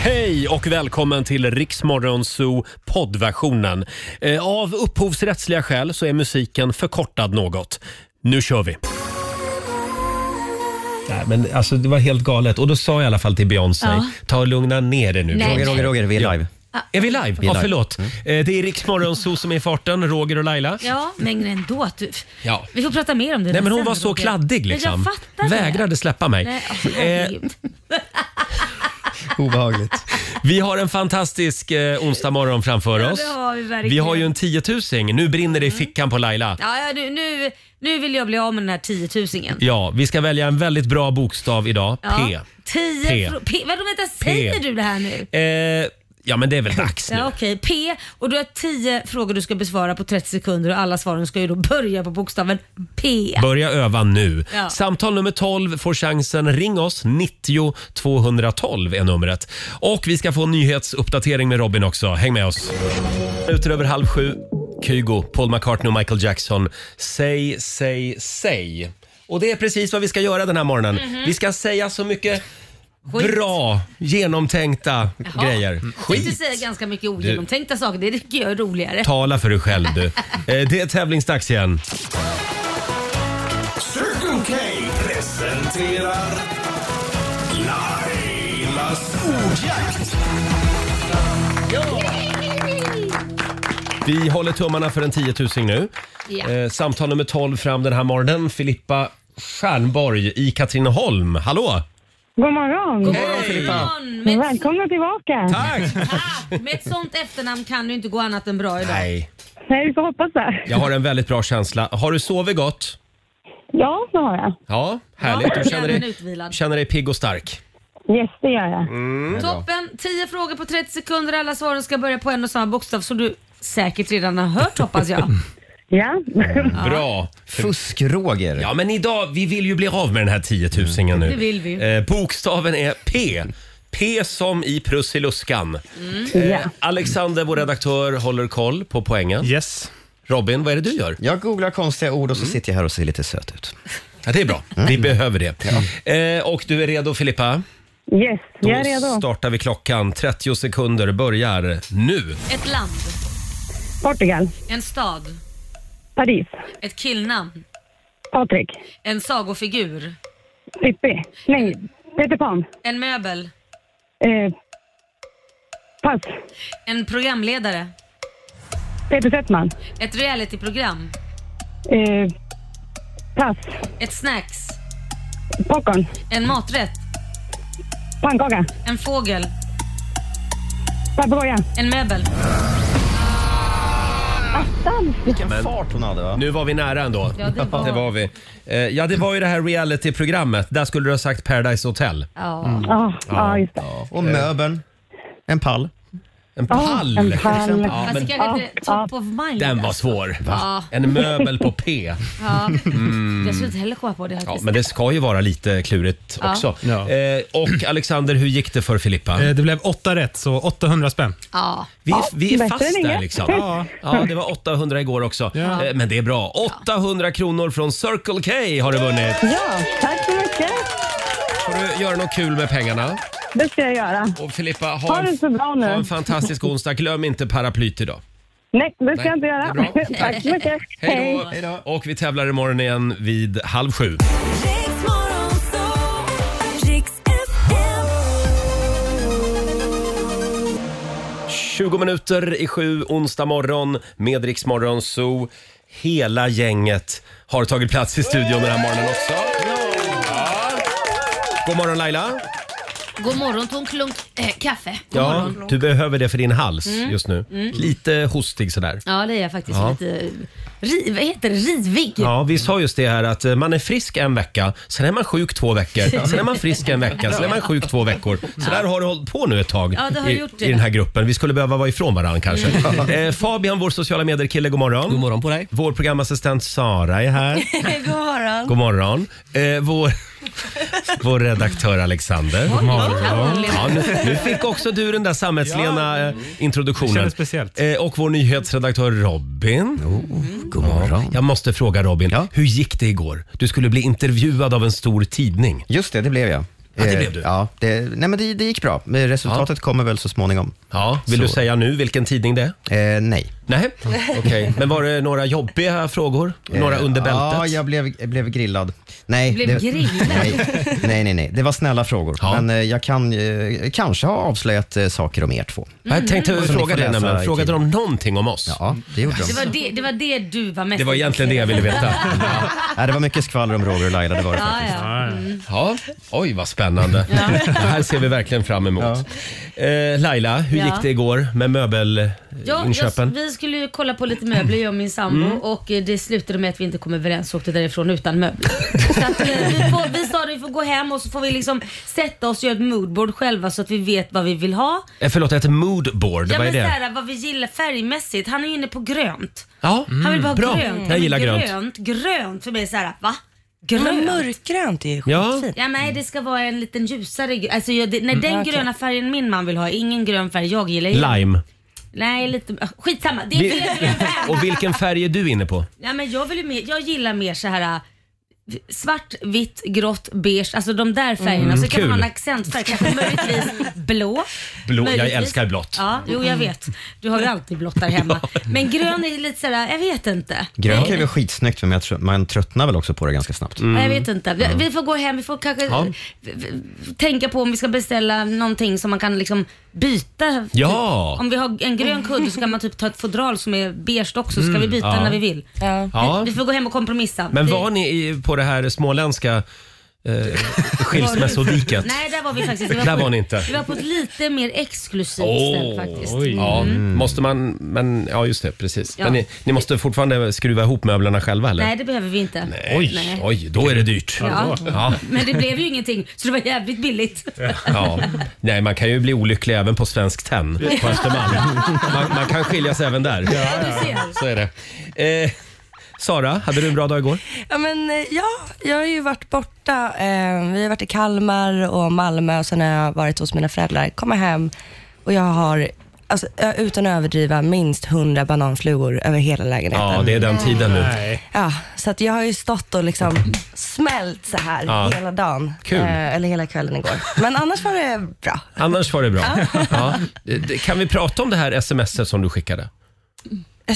Hej och välkommen till Riksmorgon Zoo poddversionen. Eh, Av upphovsrättsliga skäl så är musiken förkortad något. Nu kör vi! Nej, men alltså, det var helt galet. Och då sa jag i alla fall till Beyoncé, Ja. ta och lugna ner dig nu. Nej, Ah. Roger, nej. Roger, Roger, vi är Ja. live. Är vi live? Vi är ja, live. förlåt. Eh, Det är Riksmorgon Zoo som är i farten, Roger och Laila. Ja, men ändå. Att du, Ja. vi får prata mer om det Nej, men hon sen, var så Roger. kladdig liksom. Men jag fattar det. Vägrade släppa mig. Nej, åh, Eh, herregud. Obehagligt. Vi har en fantastisk eh, onsdag morgon framför Ja, oss. det har vi verkligen. Mm. Vi har ju en tiotusing. Nu brinner det i fickan på Laila. ja, ja, nu, nu, nu vill jag bli av med den här tiotusingen. Ja, vi ska välja en väldigt bra bokstav idag. P. Tio P. P. P. Vadå, vänta, säger du det här nu? Eh, ja, men det är väl dags nu. Ja, okej. P. Och du har tio frågor du ska besvara på 30 sekunder och alla svaren ska ju då börja på bokstaven P. Börja öva nu. Ja. Samtal nummer 12 får chansen. Ring oss. 90 212 är numret. Och vi ska få en nyhetsuppdatering med Robin också. Häng med oss. Minuter över halv sju. Kygo, Paul McCartney och Michael Jackson. Säg, säg, säg. Och det är precis vad vi ska göra den här morgonen. Vi ska säga så mycket Mhm. Skit. bra, genomtänkta Jaha. grejer. Jag tänkte säga ganska mycket ogenomtänkta saker. Det tycker jag är roligare. Tala för dig själv du. Eh, Det är tävlingsdags igen. Circle K presenterar Lailas ordjakt. Vi håller tummarna för en 10 000 nu. Ja. Eh, samtal nummer 12 fram den här morgonen. Filippa Stjernborg i Katrineholm. Hallå! God morgon! Morgon! Med, Välkomna tillbaka! Tack! med ett sånt efternamn kan du inte gå annat än bra idag. Nej, Nej, vi får hoppas det. jag har en väldigt bra känsla. Har du sovit gott? Ja, det har jag. Ja, härligt. Du känner jag är dig, utvilad. Mm. känner dig pigg och stark. Yes, det gör jag. Mm. Toppen! 10 frågor på 30 sekunder. Alla svaren ska börja på en och samma bokstav som du säkert redan har hört hoppas jag. Ja. Bra! Fusk-Roger. Ja, men idag, vi vill ju bli av med den här 10 000 nu. Mm. Det vill vi. Eh, bokstaven är P. P som i Prussiluskan. Mm. eh. ja. Alexander, vår redaktör, håller koll på poängen. Yes. Robin, vad är det du gör? Mm. Jag googlar konstiga ord och så sitter jag här och ser lite söt ut. Mm. Ja, det är bra. Vi behöver det. Eh, och du är redo Filippa? Yes, Då jag är redo. startar vi klockan. 30 sekunder börjar nu. Ett land, Portugal. en stad, Paris. ett killnamn, Patrik. en sagofigur, Pippi. Nej, Peter Pan. en möbel, Eh, pass. en programledare, Peter Settman. ett realityprogram, Eh, pass. ett snacks, Popcorn. en maträtt, Pannkaka. en fågel, Papegoja. en möbel. Attans! Vilken fart hon hade va? Nu var vi nära ändå. Ja, det var- vi. Eh, ja, det var ju det här realityprogrammet. Där skulle du ha sagt Paradise Hotel. Ja. Ja, ja, just det. Och möbeln. En pall. En Ja, pall! Ah. en Ah. pall. Ja, Fast men det kanske inte är Ja, top of mind. den var svår. Ja. Alltså. En möbel på P. Mm. Ja. Jag skulle inte heller komma på det Ja, faktiskt. men det ska ju vara lite klurigt Ja. också. Ja. Eh, och Alexander, hur gick det för Filippa? Eh, Det blev åtta rätt, så 800 spänn. Ja. Vi, är- vi är bättre fast än där inget. liksom. Ja. Ja, det var 800 igår också. Ja. Eh, Men det är bra. 800 kronor från Circle K har du vunnit. Ja, tack så mycket. Får du göra något kul med pengarna. Det ska jag göra. Och Filippa, ha Ha det en, så bra ha nu. en fantastisk onsdag. Glöm inte paraplyt idag. Nej, det ska Nej, jag inte göra. det är bra. Tack så mycket. Hej då! Och vi tävlar imorgon igen vid halv sju. Riksmorgonzoo, Riks FM. 20 minuter i sju, onsdag morgon, med Rix Morgon Zoo. Hela gänget har tagit plats i studion den här morgonen också. Ja. God morgon Laila! God morgon, tog en klunk eh, kaffe. God Ja, typ- morgon. du behöver det för din hals just nu. Lite hostig sådär. Ja, det är jag faktiskt Ja. lite eh, ri, vad heter det? rivig. Ja, vi sa just det här att eh, man är frisk en vecka, sen är man sjuk två veckor, sen är man frisk en vecka, sen är man sjuk två veckor. Så där har det hållit på nu ett tag Ja, det har i, gjort det. Mm. i den här gruppen. Vi skulle behöva vara ifrån varandra kanske. Eh, Fabian, vår sociala medier-kille, god morgon. God morgon på dig. Vår programassistent Sara är här. God morgon. God morgon. Eh, vår, vår redaktör Alexander. God morgon. Ja, nu, nu fick också du den där sammetslena eh, Det introduktionen. kändes speciellt. Eh, och vår nyhetsredaktör Robin. Oh, God morgon. Jag måste fråga Robin, hur gick det igår? Du skulle bli intervjuad av en stor tidning. Just det, det blev jag. Ja, det Eh, blev du. Ja, det, nej, men det, det gick bra. Men Resultatet kommer väl så småningom. Ja, vill du Så. säga nu vilken tidning det är? Eh, nej. Nej, okej. Men var det några jobbiga frågor? Några Eh, under Ja, bältet? jag blev, jag blev grillad. Nej, Blev grillad? Nej, nej, nej, nej. Det var snälla frågor. Ja. Men eh, jag kan eh, kanske ha avslöjat eh, saker om er två. Jag tänkte Mm. fråga Ni får dig läsa nämligen. i Frågade de tidningen. någonting om oss? Ja, det gjorde de. Det var det, det var det du var mest Det var egentligen det jag ville veta. Nej, det var mycket skvaller om Roger och Laila. Det var det Ja, faktiskt. ja. Mm. Ja, oj vad spännande. Det här ser vi verkligen fram emot. Eh, Laila, hur Ja. gick det igår med Ja, jag, möbelinköpen? vi skulle ju kolla på lite möbler jag och min sambo Mm. och eh, det slutade med att vi inte kom överens och åkte därifrån utan möbler. så att, eh, vi, får, vi sa att vi får gå hem och så får vi liksom sätta oss och göra ett moodboard själva så att vi vet vad vi vill ha. Eh, Förlåt, ett moodboard. Ja vad är men det? såhär vad vi gillar färgmässigt. Han är ju inne på grönt. ja, Han vill bara ha Mm, bra. grönt. Jag gillar grönt. grönt. Grönt, grönt för mig såhär, va? Men Grönt? mörkgrönt är ju Ja. skitfint. Ja nej det ska vara en liten ljusare grön. Alltså, jag, det, nej, den okej. gröna färgen min man vill ha, ingen grön färg jag gillar. ju- Mm. Lime. Nej lite, ah, skitsamma. Det är Vi- fel grön färg. Och vilken färg är du inne på? Ja, men jag, vill ju mer, jag gillar mer så här äh, svart, vitt, grått, beige, alltså de där färgerna. så Mm, kan kul. man ha en accentfärg, kanske möjligtvis blå. Blå, jag Möjligtvis. älskar blått. Ja, jo jag vet. Du har ju alltid blått där hemma. Men grön är lite sådär, jag vet inte. Grönt är väl skitsnyggt, men jag tror, man tröttnar väl också på det ganska snabbt. Ja, Jag vet inte. Vi, vi får gå hem, vi får kanske Mm. Ja. v- v- tänka på om vi ska beställa någonting som man kan liksom byta. Typ, Ja. Om vi har en grön kudde så kan man typ ta ett fodral som är beige också så ska vi byta Mm, ja. när vi vill. Ja. Ja. Vi, vi får gå hem och kompromissa. Men Det- var ni i- på det här småländska eh, skilsmässodiket? Nej, där var vi faktiskt vi Där på- var ni inte. Vi var på ett lite mer exklusivt ställe faktiskt. Mm. oj. Ja, måste man... Men, ja, just det. Precis. Ja. Men ni, ni måste fortfarande skruva ihop möblerna själva, eller? Nej, det behöver vi inte. Oj, Eh, Nej. oj, då är det dyrt. Ja. Ja. Men det blev ju ingenting, så det var jävligt billigt. Ja. Nej, man kan ju bli olycklig även på Svensk Tenn på Östermalm. Man, man kan skiljas även där. Ja, du ser. Så är det. Eh, Sara, hade du en bra dag igår? Ja, men, eh, ja, jag har ju varit borta. Eh, vi har varit i Kalmar och Malmö och sen har jag varit hos mina föräldrar. Kommer hem och jag har, alltså, ö- utan att överdriva, minst 100 bananflugor över hela lägenheten. Ja, det är den tiden nu. Nej. Ja, så att jag har ju stått och liksom smält så här Ja. hela dagen. Kul. Eh, eller hela kvällen igår. Men annars var det bra. Annars var det bra. Ja. Eh, det- Kan vi prata om det här smset som du skickade?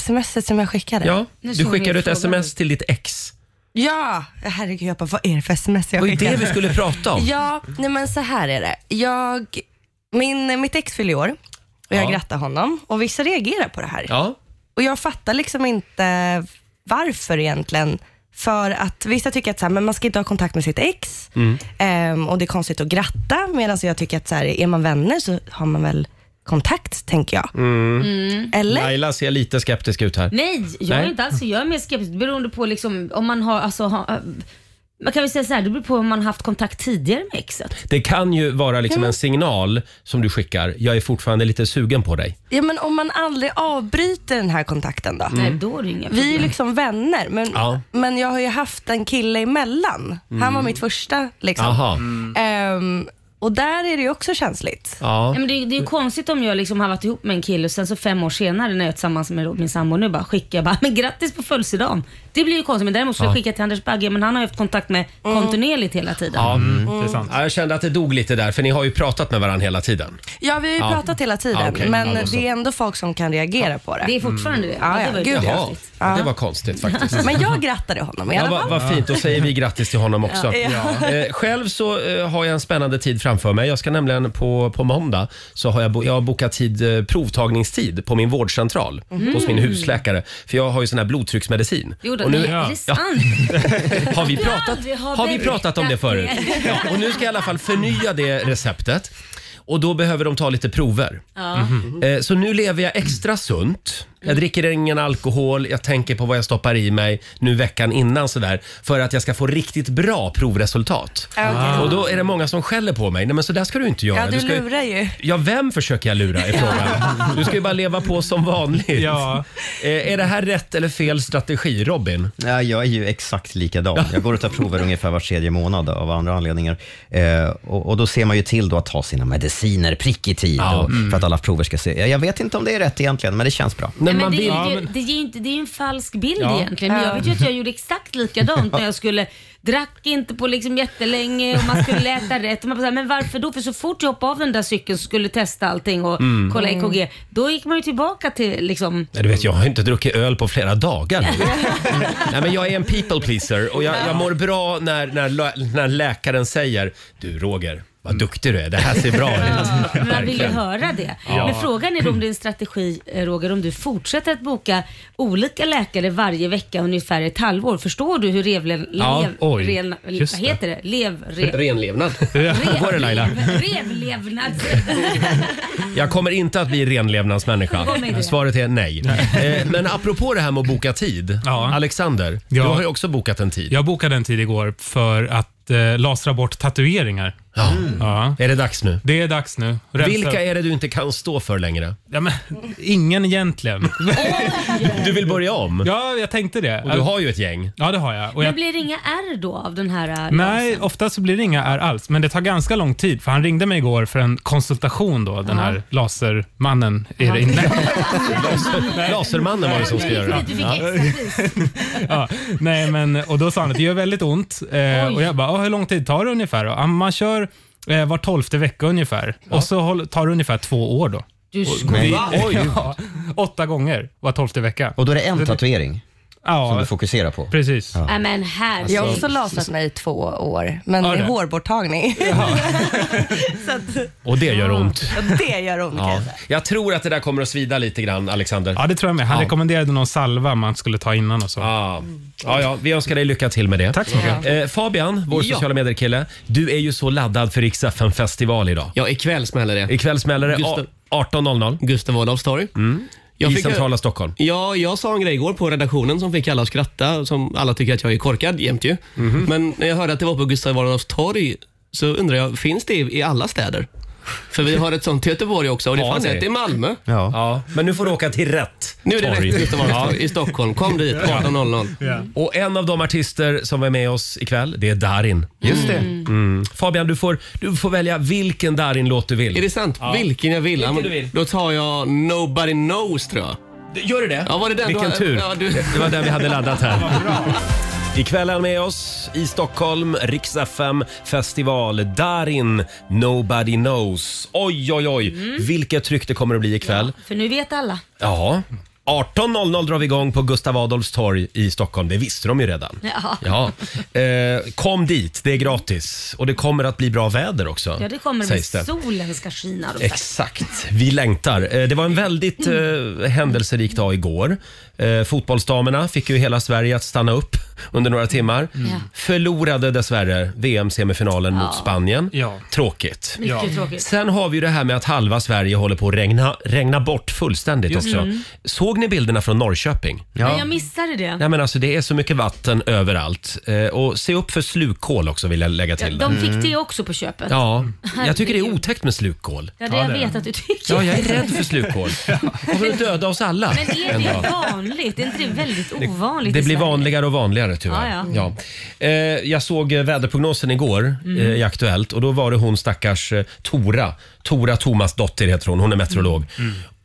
Smset som jag skickade. Ja, Nu du såg vi skickade ett frågan. sms till ditt ex. ja. Herregud, jag bara, vad är det för sms Det jag var ju det skickade? vi skulle prata om. Ja, nej men så här är det. Jag, min, mitt ex fyller i år och jag Ja. grattar honom och vissa reagerar på det här. Ja, Och jag fattar liksom inte varför egentligen. För att vissa tycker att så här, men man ska inte ha kontakt med sitt ex Mm. ehm, och det är konstigt att gratta. Medan jag tycker att så här, är man vänner så har man väl kontakt, tänker jag. Eller? Mm. Laila ser lite skeptisk ut här. Mm. Nej, jag Nej. är inte alls Jag är mer skeptisk beroende på liksom, om man har, alltså, ha, man kan väl säga så här, det beror på om man har haft kontakt tidigare med exet. Det kan ju vara liksom Mm. en signal som du skickar. Jag är fortfarande lite sugen på dig. Ja, men om man aldrig avbryter den här kontakten då? Nej, då är det inga Vi är problem. liksom vänner, men, Ja. men jag har ju haft en kille emellan. Han var mitt första. Liksom. Mm. Aha. Ehm, och där är det ju också känsligt. Ja. Ja, men det, är- det är ju konstigt om jag liksom har varit ihop med en kille och sen så fem år senare när jag är tillsammans med min sambo nu bara skickar jag bara, men grattis på födelsedagen. Det blir ju konstigt men däremot skulle jag skicka till Anders Bagge men han har ju haft kontakt med Mm. kontinuerligt hela tiden. Ja. mm, Det är sant. Ja, jag kände att det dog lite där, för ni har ju pratat med varandra hela tiden. Ja, vi har ju Ja. pratat hela tiden, Ja, okej. men Ja, då så. det är ändå folk som kan reagera på det. Mm. Det är fortfarande det. Ja, det ja. var ju Gud, konstigt. Jaha, Grattis. det var konstigt faktiskt. Men jag grattade honom i Ja, alla vad, fall. vad fint, då säger vi grattis till honom också. Eh, själv så eh, har jag en spännande tid framför mig. Jag ska nämligen på, på måndag så har jag, bo, jag har bokat tid, eh, provtagningstid på min vårdcentral hos min husläkare. För jag har ju sån här blodtrycksmedicin. Mm. Jo, då, Och nu- nej, Ja. är det sant? Har vi Jag pratat, aldrig har har vi berättat pratat om det förut? det. Ja, och nu ska jag i alla fall förnya det receptet. Och då behöver de ta lite prover. Ja. Eh, Så nu lever jag extra sunt. Jag dricker ingen alkohol, jag tänker på vad jag stoppar i mig nu veckan innan sådär. För att jag ska få riktigt bra provresultat. Ja, okej. Och då är det många som skäller på mig. Nej men så där ska du inte göra. Ja, du ska ju- lurar ju. Ja, vem försöker jag lura är frågan. Du ska ju bara leva på som vanligt. Ja. Eh, Är det här rätt eller fel strategi, Robin? Nej, jag är ju exakt likadan. Jag går och tar prover ungefär var tredje månad av andra anledningar. Eh, och, och då ser man ju till då att mm. ta sina mediciner prick i tid och, för att alla prover ska se. Jag vet inte om det är rätt egentligen, men det känns bra. Nej, men man det, vill. är ju, Ja, men- det, är ju inte, det är ju en falsk bild Ja. egentligen. Men jag vet ju att jag gjorde exakt likadant när jag skulle drack inte på liksom jättelänge och man skulle äta rätt. Och man bara så här, men varför då? För så fort jag hoppade av den där cykeln så skulle testa allting och Mm. kolla EKG. Då gick man ju tillbaka till liksom... Nej, du vet, jag har inte druckit öl på flera dagar nu. Nej, men jag är en people pleaser och jag, jag mår bra när, när, lä- när läkaren säger Du Roger, vad duktig du är. Det här ser bra ut. Men man vill ju Verkligen. höra det. Men frågan är då om din strategi, eh, Roger, om du fortsätter att boka olika läkare varje vecka ungefär ett halvår. Förstår du hur revlen... Ja, lev, oj. rel, vad Just det. heter det? Lev... Re, Renlevnad. Hur går det Laila? Rev- Revlevnad. Jag kommer inte att bli renlevnadsmänniska. Vad menar du? Svaret är nej. Eh, Men apropå det här med att boka tid. Ja. Alexander, Ja. du har ju också bokat en tid. Jag bokade en tid igår för att eh, lasra bort tatueringar. Ja. Ja. Är det dags nu? Det är dags nu. Rensa- Vilka är det du inte kan stå för längre? Ja, men, ingen egentligen. Du vill börja om? Ja, jag tänkte det. Och du har ju ett gäng. Ja, det har jag. Och Men jag... blir det inga R då av den här? eh, Nej, ofta så blir det inga är alls, men det tar ganska lång tid. För Han ringde mig igår för en konsultation, då, den här lasermannen. Är det inte? Lasermannen var det som Jag skulle gick göra dit, det. Du fick extra pris. Ja, nej, men, och då sa han att det gör väldigt ont. Eh, Oj. och jag bara, "Ah, hur lång tid tar det ungefär? då?" "Ah, man kör eh, var tolfte vecka ungefär. Och så håll- tar det ungefär två år då. Du skojar. Men, Ja, åtta gånger var tolfte vecka. och då är det en tatuering som Ja, du fokuserar på. precis. Nej men här. Jag har också lasat mig i två år, men Har det är du? hårborttagning. så att, Och det gör ont. Mm. det gör ont. Ja. Ja. Jag tror att det där kommer att svida lite grann, Alexander. Ja, det tror jag med. Han rekommenderade någon salva man skulle ta innan och så. Ja. Ja, ja, vi önskar dig lycka till med det. Tack så mycket. Eh, Fabian, vår Ja. sociala medier-kille. Du är ju så laddad för riks festival idag. Ja, ikväll smäller det. Ikväll smäller det Just a- 18.00 Gustav Adolfs torg. Jag Mm. i fick- centrala Stockholm. Ja, jag sa en grej igår på redaktionen som fick alla att skratta, som alla tycker att jag är korkad jämt ju. Mhm. Men när jag hörde att det var på Gustav Adolfs torg så undrar jag, finns det i i alla städer? För vi har ett sånt i Göteborg också och det Har fanns ni? ett i Malmö. Ja. Ja, men nu får du åka till rätt Nu är det torg. rätt Gustav Adolfs Ja. torg i Stockholm. Kom dit 18.00. Och en av de artister som är med oss ikväll, det är Darin. Just det. Mm. Fabian, du får, du får välja vilken Darin-låt du Är det vill. sant? Vilken jag vill. Ja, men du vill. Då tar jag Nobody Knows tror jag. Gör du det? Ja, var det den Vilken du, tur. Ja, du, Det var den vi hade laddat här. Ikväll är han med oss i Stockholm, Rix FM festival. Darin, Nobody Knows. Oj, oj, oj. Mm. Vilket tryck det kommer att bli ikväll. För nu vet alla. Ja. 18.00 drar vi igång på Gustav Adolfs torg i Stockholm. Det visste de ju redan. Ja. Ja. Eh, kom dit, det är gratis. Och det kommer att bli bra väder också. Ja det kommer sägs med solen ska skina. då. Exakt, vi längtar. Eh, Det var en väldigt eh, händelserik dag igår. Eh, fotbollsdamerna fick ju hela Sverige att stanna upp under några timmar. Mm. Ja. Förlorade dessvärre VM-semifinalen mot Spanien. Ja. Tråkigt. Mycket Ja. tråkigt. Sen har vi ju det här med att halva Sverige håller på att regna, regna bort fullständigt också. Såg ni bilderna från Norrköping? Men jag missade det. Nej men alltså det är så mycket vatten överallt. Eh, och se upp för slukhål också vill jag lägga Ja, till. Ja, de fick det också på köpet. Ja, Mm. ja. jag tycker det är Herregud. otäckt med slukhål. det jag vet att du tycker. Ja, jag är rädd för slukhål. Kommer att döda oss alla Men är en dag. det vanligt? Är inte det väldigt ovanligt Det i blir Sverige? vanligare och vanligare tyvärr. Ja, Mm. Ja. Eh, jag såg eh, väderprognosen igår eh, i Aktuellt och då var det hon stackars eh, Tora. Tora Thomas dotter heter hon, hon är meteorolog.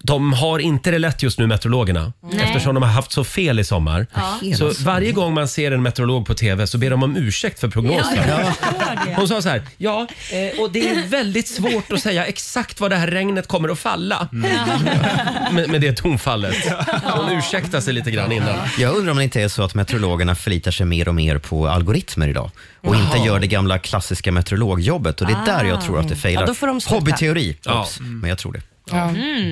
De har inte det lätt just nu meteorologerna Mm. Nej. eftersom de har haft så fel i sommar. Ja. Så varje gång man ser en meteorolog på TV så ber de om ursäkt för Ja, prognosen. jag förstår det. Hon sa så här, ja, eh, och det är väldigt svårt att säga exakt var det här regnet kommer att falla. Med, med det tonfallet. Hon ursäktar sig lite grann innan. Jag undrar om det inte är så att meteorologerna förlitar sig mer och mer på algoritmer idag och inte gör det gamla klassiska meteorologjobbet och det är där Ah. jag tror att det failar. Ja, då får de sluta. Hobbyteori, Ja. Mm. Oops. men jag tror det.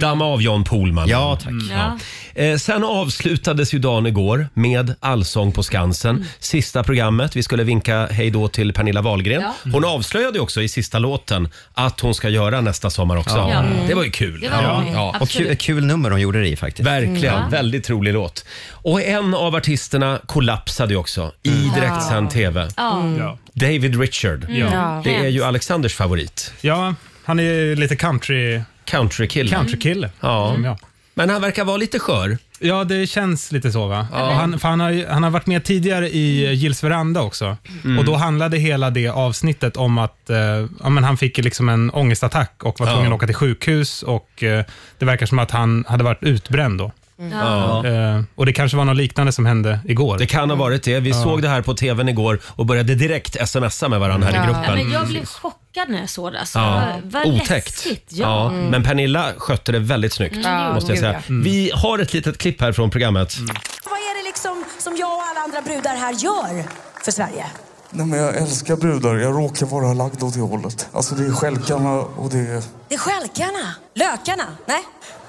Damma av John Pohlman. Ja, tack. Mm. Ja. Eh, sen avslutades ju dagen igår med Allsång på Skansen. Mm. Sista programmet. Vi skulle vinka hej då till Pernilla Wahlgren. Ja. Mm. Hon avslöjade ju också i sista låten att hon ska göra nästa sommar också. Ja. Mm. Det var ju kul. Det var ja. roligt. Ja. Och kul, Absolut. Mm. kul nummer de gjorde det i faktiskt. Verkligen, väldigt rolig låt. Och en av artisterna kollapsade ju också i Mm. direktsänd TV. Ja. David Richard. Ja. Det är ju Alexanders favorit. ja, han är lite country, Countrykille. countrykille. Ja. som jag. Men han verkar vara lite skör. Ja, det känns lite så. Va? Och Han, för han, har, ju- han har varit med tidigare Mm. i eh, Gills veranda också. Och Då handlade hela det avsnittet om att eh, ja, men han fick liksom en ångestattack och var tvungen att åka till sjukhus. Och eh, Det verkar som att han hade varit utbränd då. Mm. Ja. Eh, och det kanske var något liknande som hände igår. Det kan ha varit det. Vi såg det här på tvn igår och började direkt smsa med varandra här i Ja, men gruppen. jag blev chockad när jag såg det. Alltså. Ja. Vad- Vad Otäckt. läskigt. Ja. Mm. Ja. Mm. Men Pernilla skötte det väldigt snyggt. Måste jag gud, säga. Mm. Vi har ett litet klipp här från programmet. Vad är det liksom som jag och alla andra brudar här gör för Sverige? Nej, men jag älskar brudar. Jag råkar vara lagd åt det hållet. Alltså det är skälkarna och det är... Det är stjälkarna, lökarna. Nej,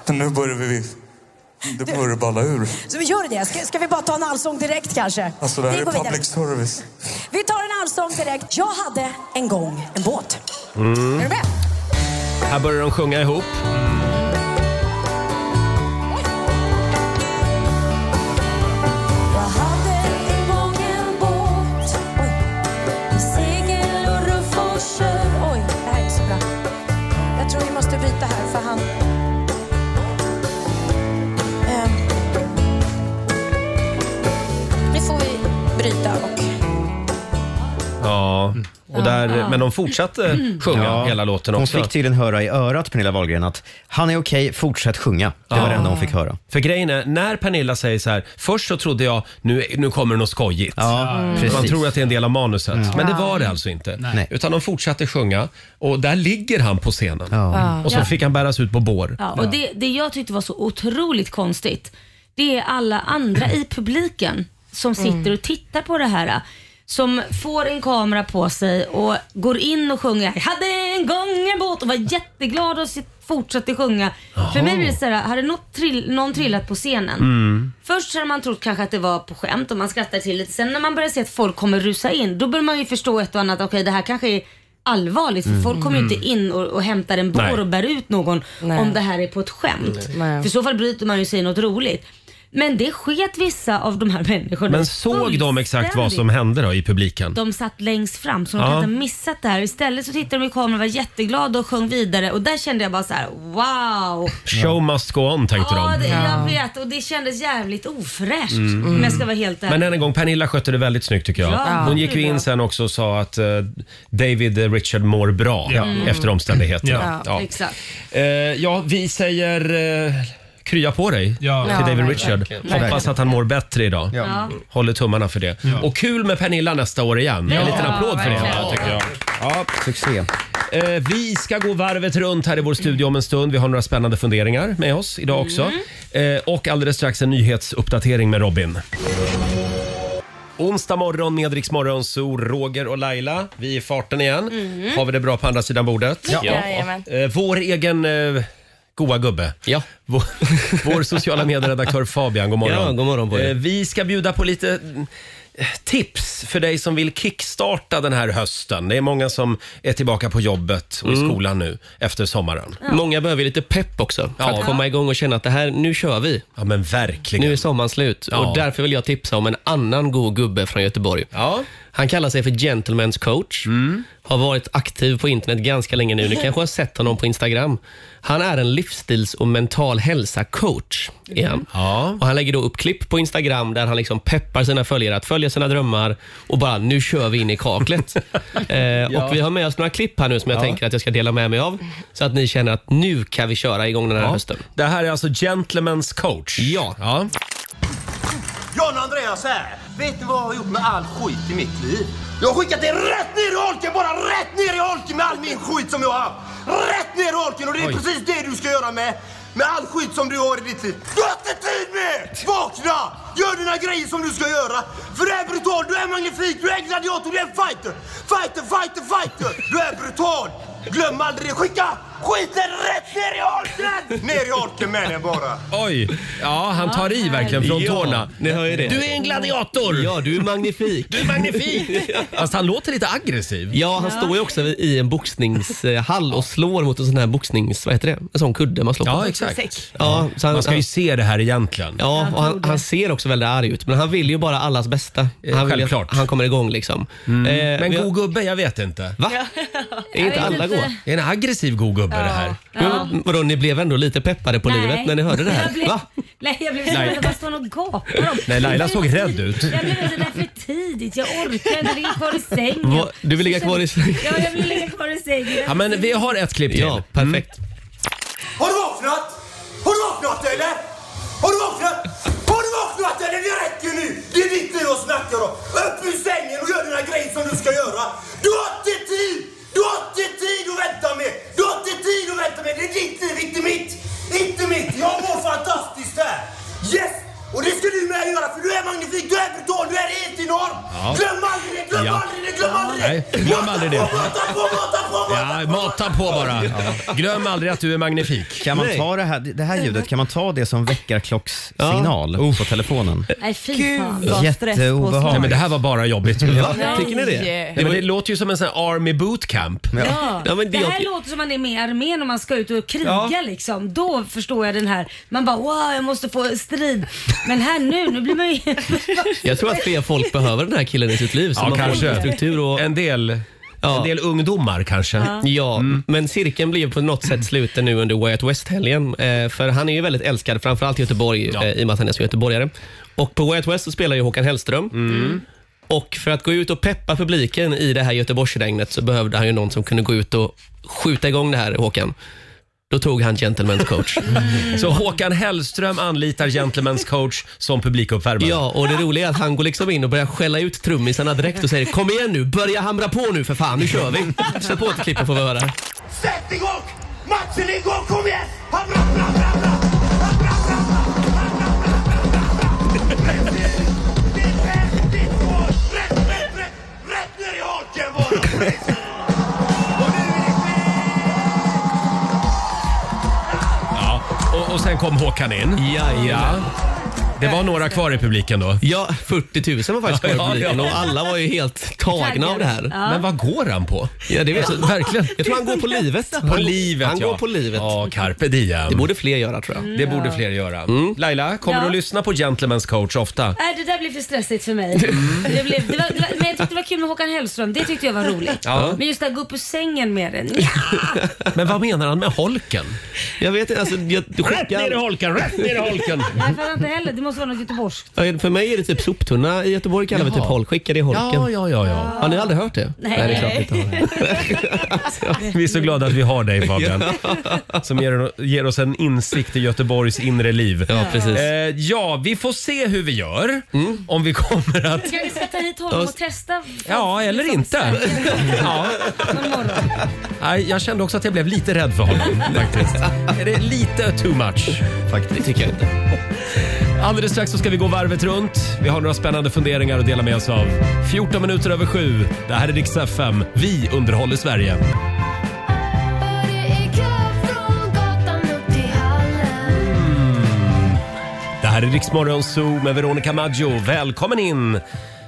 Men nu börjar vi... Det börjar balla ur. så vi gör det. Ska, ska vi bara ta en allsång direkt kanske? Alltså det här Vi är går vidare. public service. Vi tar en allsång direkt. Jag hade en gång en båt. Mm. Mm. Är du med? Här börjar de sjunga ihop. Jag hade en gång en båt. Oj. Med segel och ruff och kör. Oj, det här är så bra. Jag tror vi måste byta här för han... Ehm. Nu får vi bryta och... Ja. Och där, men de fortsatte sjunga Ja. hela låten Hon också. fick tydligen höra i örat, Pernilla Wahlgren, att han är okej, fortsätt sjunga. Det var det enda hon fick höra. För grejen är, när Pernilla säger så här, först så trodde jag nu, nu kommer det något skojigt. Ja, precis. Man tror att det är en del av manuset, Mm. men det var det alltså inte. Nej. Utan de fortsatte sjunga och där ligger han på scenen. Ja. Och så Ja. fick han bäras ut på bår. Ja, och det, det jag tyckte var så otroligt konstigt, det är alla andra i publiken som sitter och tittar på det här. Som får en kamera på sig och går in och sjunger “Jag hade en gång en båt” och var jätteglad och sitt- fortsatte sjunga. För mig blir det såhär, hade något trill, någon trillat på scenen. Mm. Först så hade man trott kanske att det var på skämt och man skrattade till lite. Sen när man börjar se att folk kommer rusa in, då börjar man ju förstå ett och annat. Okej, det här kanske är allvarligt. För folk kommer ju inte in och, och hämtar en Mm. Nej. bår och bär ut någon Nej. om det här är på ett skämt. Nej. För i så fall bryter man ju sig något roligt. Men det sket vissa av de här människorna. Men såg de exakt vad som hände? hände då i publiken? De satt längst fram så de Ja. kan inte ha missat det här. Istället så tittade de i kameran och var jätteglada och sjöng vidare och där kände jag bara så här: wow. Show must go on tänkte Ja, det, de. Mm. jag vet och det kändes jävligt ofräscht Mm. om jag ska vara helt ärlig. Men än en gång, Pernilla skötte det väldigt snyggt tycker jag. Ja. Hon gick ju in sen också och sa att eh, David eh, Richard mår bra efter omständigheterna. Ja. Mm. ja, exakt. Eh, ja, vi säger eh, krya på dig Ja. till Ja, David verkligen. Richard. Hoppas att han mår bättre idag. Ja. Håller tummarna för det. Och kul med Pernilla nästa år igen. En liten applåd för det. verkligen. tycker jag. Ja. Succé. Eh, vi ska gå varvet runt här i vår studio om en stund. Vi har några spännande funderingar med oss idag också. Eh, och alldeles strax en nyhetsuppdatering med Robin. Onsdag morgon med Rix Morgon, så Roger och Laila. Vi är i farten igen. Har vi det bra på andra sidan bordet? Jajamän. Eh, vår egen eh, goa gubbe. Ja. Vår, vår sociala medieredaktör Fabian, god morgon. Ja, god morgon på er. Eh, Vi ska bjuda på lite mm, tips för dig som vill kickstarta den här hösten. Det är många som är tillbaka på jobbet och i skolan nu efter sommaren. Mm. Många behöver lite pepp också för att komma igång och känna att det här, nu kör vi. Ja, men Nu är verkligen. sommaren slut Ja. och därför vill jag tipsa om en annan god gubbe från Göteborg. Ja. Mm. Han kallar sig för Gentleman's coach. Har varit aktiv på internet ganska länge nu. Ni kanske har sett honom på Instagram. Han är en livsstils och mental hälsa-coach. är han. Ja. Och han lägger då upp klipp på Instagram där han liksom peppar sina följare att följa sina drömmar och bara nu kör vi in i kaklet. eh, Och Vi har med oss några klipp här nu som jag tänker att jag ska dela med mig av så att ni känner att nu kan vi köra igång den här Ja. hösten. Det här är alltså Gentleman's coach. Ja. ja. John Andreas här. Vet ni vad jag har gjort med all skit i mitt liv? Jag har skickat det rätt ner i holken, bara rätt ner i holken med all min skit som jag har haft. Rätt ner i holken och det är Oj. precis det du ska göra med. Med all skit som du har i ditt liv. Du har inte tid med! Vakna! Gör dina grejer som du ska göra. För du är brutal, du är magnifik, du är gladiator, du är fighter. Fighter, fighter, fighter. Du är brutal. Glöm aldrig det. Skicka skiten rätt ner i holken! Ner i holken med den bara. Oj! Ja, han tar i verkligen från tårna. ni hör ju det. Du är en gladiator! Ja, du är magnifik. Du är magnifik! Fast han låter lite aggressiv. Ja, han står ju också i en boxningshall och slår mot en sån här boxnings... Vad heter det? En sån kudde man slår Ja, på. exakt. Ja, så han, Man ska ju han, se det här egentligen. ja, och han, han ser också väldigt arg ut, men han vill ju bara allas bästa. Eh, Han vill ju självklart. Mm. att han kommer igång liksom. Eh, Men vi- god gubbe, jag vet inte. Va? Är inte vet alla inte. goa? Det är en aggressiv god gubbe det här. Ja. Men Vadå, ni blev ändå lite peppade på livet när ni hörde det Jag här? blev, Va? Nej, jag blev så rädd. Jag bara står och gapar. om. Nej, Laila såg rädd ut. Jag blev det där för tidigt. Jag orkar inte ligga kvar i sängen. Va? Du vill ligga kvar i sängen? Ja, jag vill ligga kvar i sängen. Ja, men vi har ett klipp till. Ja, perfekt. Har du vaknat? Har du vaknat eller? Har du vaknat? jag då. Upp ur sängen och gör dina grejer som du ska göra. Du har inte tid! Du har inte tid att vänta med! Du har inte tid att vänta med! Det är ditt liv, inte mitt! Inte mitt! Jag mår fantastiskt här! Yes! Och det ska du med göra för du är magnifik, du är brutal, du är helt enorm! Ja. Glöm aldrig det, glöm Ja. aldrig det, glöm aldrig det! Nej, glöm aldrig det. Mata på, mata på, mata Ja, på! mata på bara. Glöm aldrig att du är magnifik. Kan man Nej. ta det här, det här ljudet kan man ta det som väckarklockssignal på telefonen? Nej fy fan. Vad Jätteobehagligt. Nej, men det här var bara jobbigt. Ja. Tycker ni det? Nej. Nej, men det låter ju som en sån här army bootcamp. Ja. Ja, men det- det här låter som man är med i armén och man ska ut och kriga liksom. Då förstår jag den här. Man bara wow, jag måste få strid. Men här nu, nu blir man ju... Jag tror att fler folk behöver den här killen i sitt liv. Så Ja, man kanske. får en struktur och... En del, Ja. en del ungdomar kanske. Mm. Ja, men cirkeln blir på något sätt sluten nu under Way Out West-helgen. Eh, för han är ju väldigt älskad, framförallt i Göteborg, Ja. eh, i och med att han är så göteborgare. Och på Way Out West så spelar ju Håkan Hellström. Mm. Och för att gå ut och peppa publiken i det här Göteborgsregnet så behövde han ju någon som kunde gå ut och skjuta igång det här, Håkan. Då tog han Gentleman's coach. Så Håkan Hellström anlitar Gentlemen's coach som publikuppvärmare. Ja, och det roliga är att han går liksom in och börjar skälla ut trummisarna direkt och säger Kom igen nu, börja hamra på nu för fan, nu kör vi. Sätt på ett klipp och få höra. Sätt igång! Matchen är igång, kom igen! Hamra, hamra, hamra, hamra! Hamra, hamra, hamra, hamra, hamra, hamra! Rätt in! Det är rätt, det är mål! Rätt, rätt, rätt! Rätt ner i haken bara! Precis! Och nu är det slut! Ja, Och, och sen kom Håkan in. Jajamän. Det var några kvar i publiken då. Ja, 40 000 var faktiskt kvar i Ja, ja, publiken ja. och alla var ju helt tagna av det här. Ja. Men vad går han på? Alltså, Ja, det vet jag. Verkligen. Jag tror han går på livet. På livet Han ja. går på livet. Ja, carpe diem. Det borde fler göra tror jag. Mm. Det borde fler göra. Laila, kommer Ja. du att lyssna på Gentlemen's coach ofta? Nej, Äh, det där blev för stressigt för mig. Mm. Det blev, det var, det var, men jag tyckte det var kul med Håkan Hellström. Det tyckte jag var roligt. Ja. Men just det här, gå upp ur sängen med den. Men vad menar han med holken? Jag vet inte, alltså, jag, du skickar, holken, rätt ner i holken! Nej, för inte heller. Det måste vara något göteborgskt. Ja, för mig är det typ soptunna i Göteborg kallar vi Jaha. typ holk. Skicka det i holken. Ja, ja, ja, ja. Har ni aldrig hört det? Nej. det är klart ni inte har. Vi är så glada att vi har dig Fabian. Som ger, ger oss en insikt i Göteborgs inre liv. Ja, precis. Mm. Eh, ja, vi får se hur vi gör. Om vi kommer att... Ska vi sätta hit honom och testa? Ja, eller inte. Ja. Någon morgon. Nej, jag kände också att jag blev lite rädd för honom faktiskt. Är det lite too much? Faktiskt. Det tycker jag inte. Alldeles strax så ska vi gå varvet runt. Vi har några spännande funderingar att dela med oss av. 14 minuter över sju. Det här är Rix FM. Vi underhåller Sverige. Det här är Riksmorgon Zoo med Veronica Maggio. Välkommen in!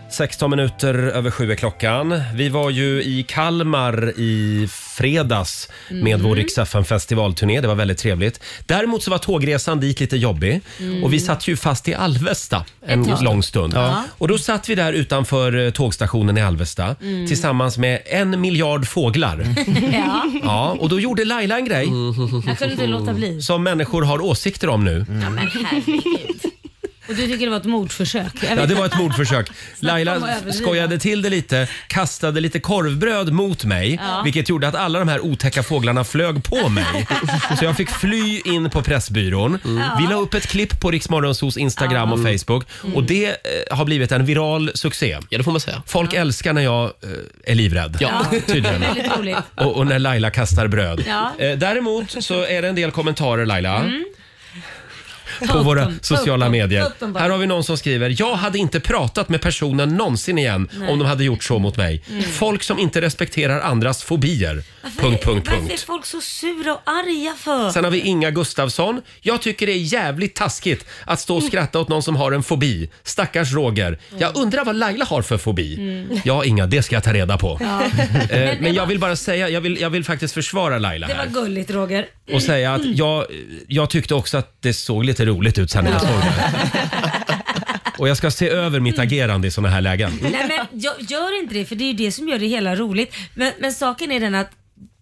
16 minuter över sju är klockan. Vi var ju i Kalmar i fredags med Mm. vår Rix FM festivalturné. Det var väldigt trevligt. Däremot så var tågresan dit lite jobbig och vi satt ju fast i Alvesta en Mm. Ett tag. lång stund. Och då satt vi där utanför eh, tågstationen i Alvesta Mm. tillsammans med en miljard fåglar. Ja, ja, och då gjorde Laila en grej Mm. jag kunde inte låta bli. som människor har åsikter om nu. Ja, men herregud. Och du tycker det var ett mordförsök? Jag Ja, vet det var ett mordförsök. om att Laila överdriva. skojade till det lite, kastade lite korvbröd mot mig, Ja. vilket gjorde att alla de här otäcka fåglarna flög på mig. Så jag fick fly in på Pressbyrån. Mm. Vi la upp ett klipp på Riksmorgonsos Instagram och Facebook och det eh, har blivit en viral succé. Mm. Ja, det får man säga. Folk älskar när jag eh, är livrädd. Ja. Tydligen. Väldigt roligt. Och, och när Laila kastar bröd. Ja. Eh, däremot så är det en del kommentarer Laila. På upp våra dem, ta upp sociala dem, medier. ta upp dem bara. Här har vi någon som skriver “Jag hade inte pratat med personen någonsin igen om de hade gjort så mot mig. Folk som inte respekterar andras fobier.” Punkt, punkt, Mm. Varför är punkt. folk så sura och arga för? Sen har vi Inga Gustafsson. “Jag tycker det är jävligt taskigt att stå och skratta åt någon som har en fobi. Stackars Roger. Mm. Jag undrar vad Laila har för fobi?” Ja, Inga, det ska jag ta reda på. Eh, Men jag vill bara säga, jag vill, jag vill faktiskt försvara Laila Det här. var gulligt Roger. och säga att jag, jag tyckte också att det såg lite roligt ut sen när jag såg det. Och jag ska se över mitt agerande i såna här lägen. Nej men jag, gör inte det för det är ju det som gör det hela roligt. Men, men saken är den att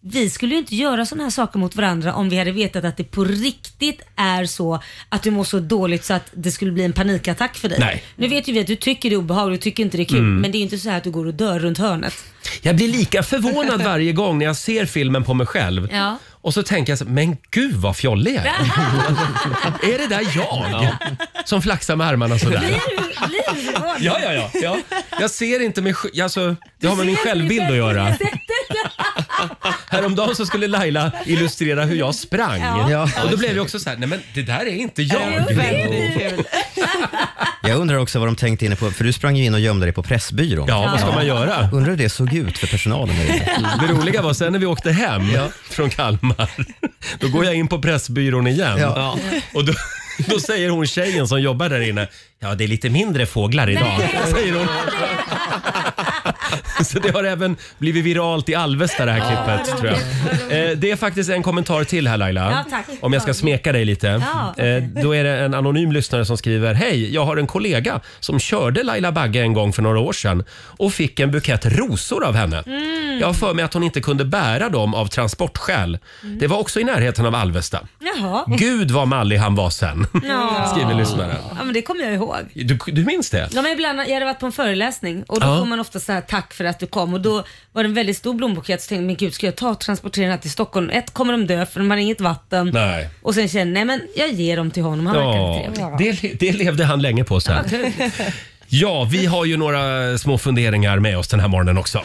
vi skulle ju inte göra sådana här saker mot varandra om vi hade vetat att det på riktigt är så att du mår så dåligt så att det skulle bli en panikattack för dig. Nej. Mm. Nu vet ju vi att du tycker det är obehagligt och tycker inte det är kul men det är ju inte så här att du går och dör runt hörnet. Jag blir lika förvånad varje gång när jag ser filmen på mig själv Ja. Och så tänker jag så, men gud vad fjollig jag är. är det där jag som flaxar med armarna sådär? Blir du förvånad? Ja, ja, ja, ja. Jag ser inte mig sj- alltså, Det har med min ser självbild att göra. Sättet Häromdagen så skulle Laila illustrera hur jag sprang. Ja. Ja. Och då blev jag också så här, nej men det där är inte Jo, jag. det är du. Jag undrar också vad de tänkte inne på, för du sprang ju in och gömde dig på Pressbyrån. Ja, vad ska man göra? Undrar hur det såg ut för personalen där inne. Det roliga var sen när vi åkte hem från Kalmar, då går jag in på Pressbyrån igen. Ja. Och då, då säger hon tjejen som jobbar där inne, ja det är lite mindre fåglar idag, Nej. säger hon. Så det har även blivit viralt i Alvesta det här klippet vad tror jag. roligt, vad Eh, Det är faktiskt en kommentar till här Laila. Ja, tack. Om jag ska smeka dig lite. Ja, Eh, Då är det en anonym lyssnare som skriver, hej, jag har en kollega som körde Laila Bagge en gång för några år sedan och fick en bukett rosor av henne. Mm. Jag har för mig att hon inte kunde bära dem av transportskäl. Mm. Det var också i närheten av Alvesta. Jaha. Gud vad mallig han var sen, Ja. skriver lyssnaren. ja, men det kommer jag ihåg. Du, du minns det? Ja, men ibland, jag hade varit på en föreläsning och då Ja. får man ofta så här tack för att du kom och då var det en väldigt stor blombukett så tänkte jag, men gud ska jag ta och transportera den här till Stockholm? Ett, kommer de dö för de har inget vatten? Nej. Och sen känner jag, nej men jag ger dem till honom, han verkar Ja, trevlig. det, det levde han länge på sen. Ja, vi har ju några små funderingar med oss den här morgonen också.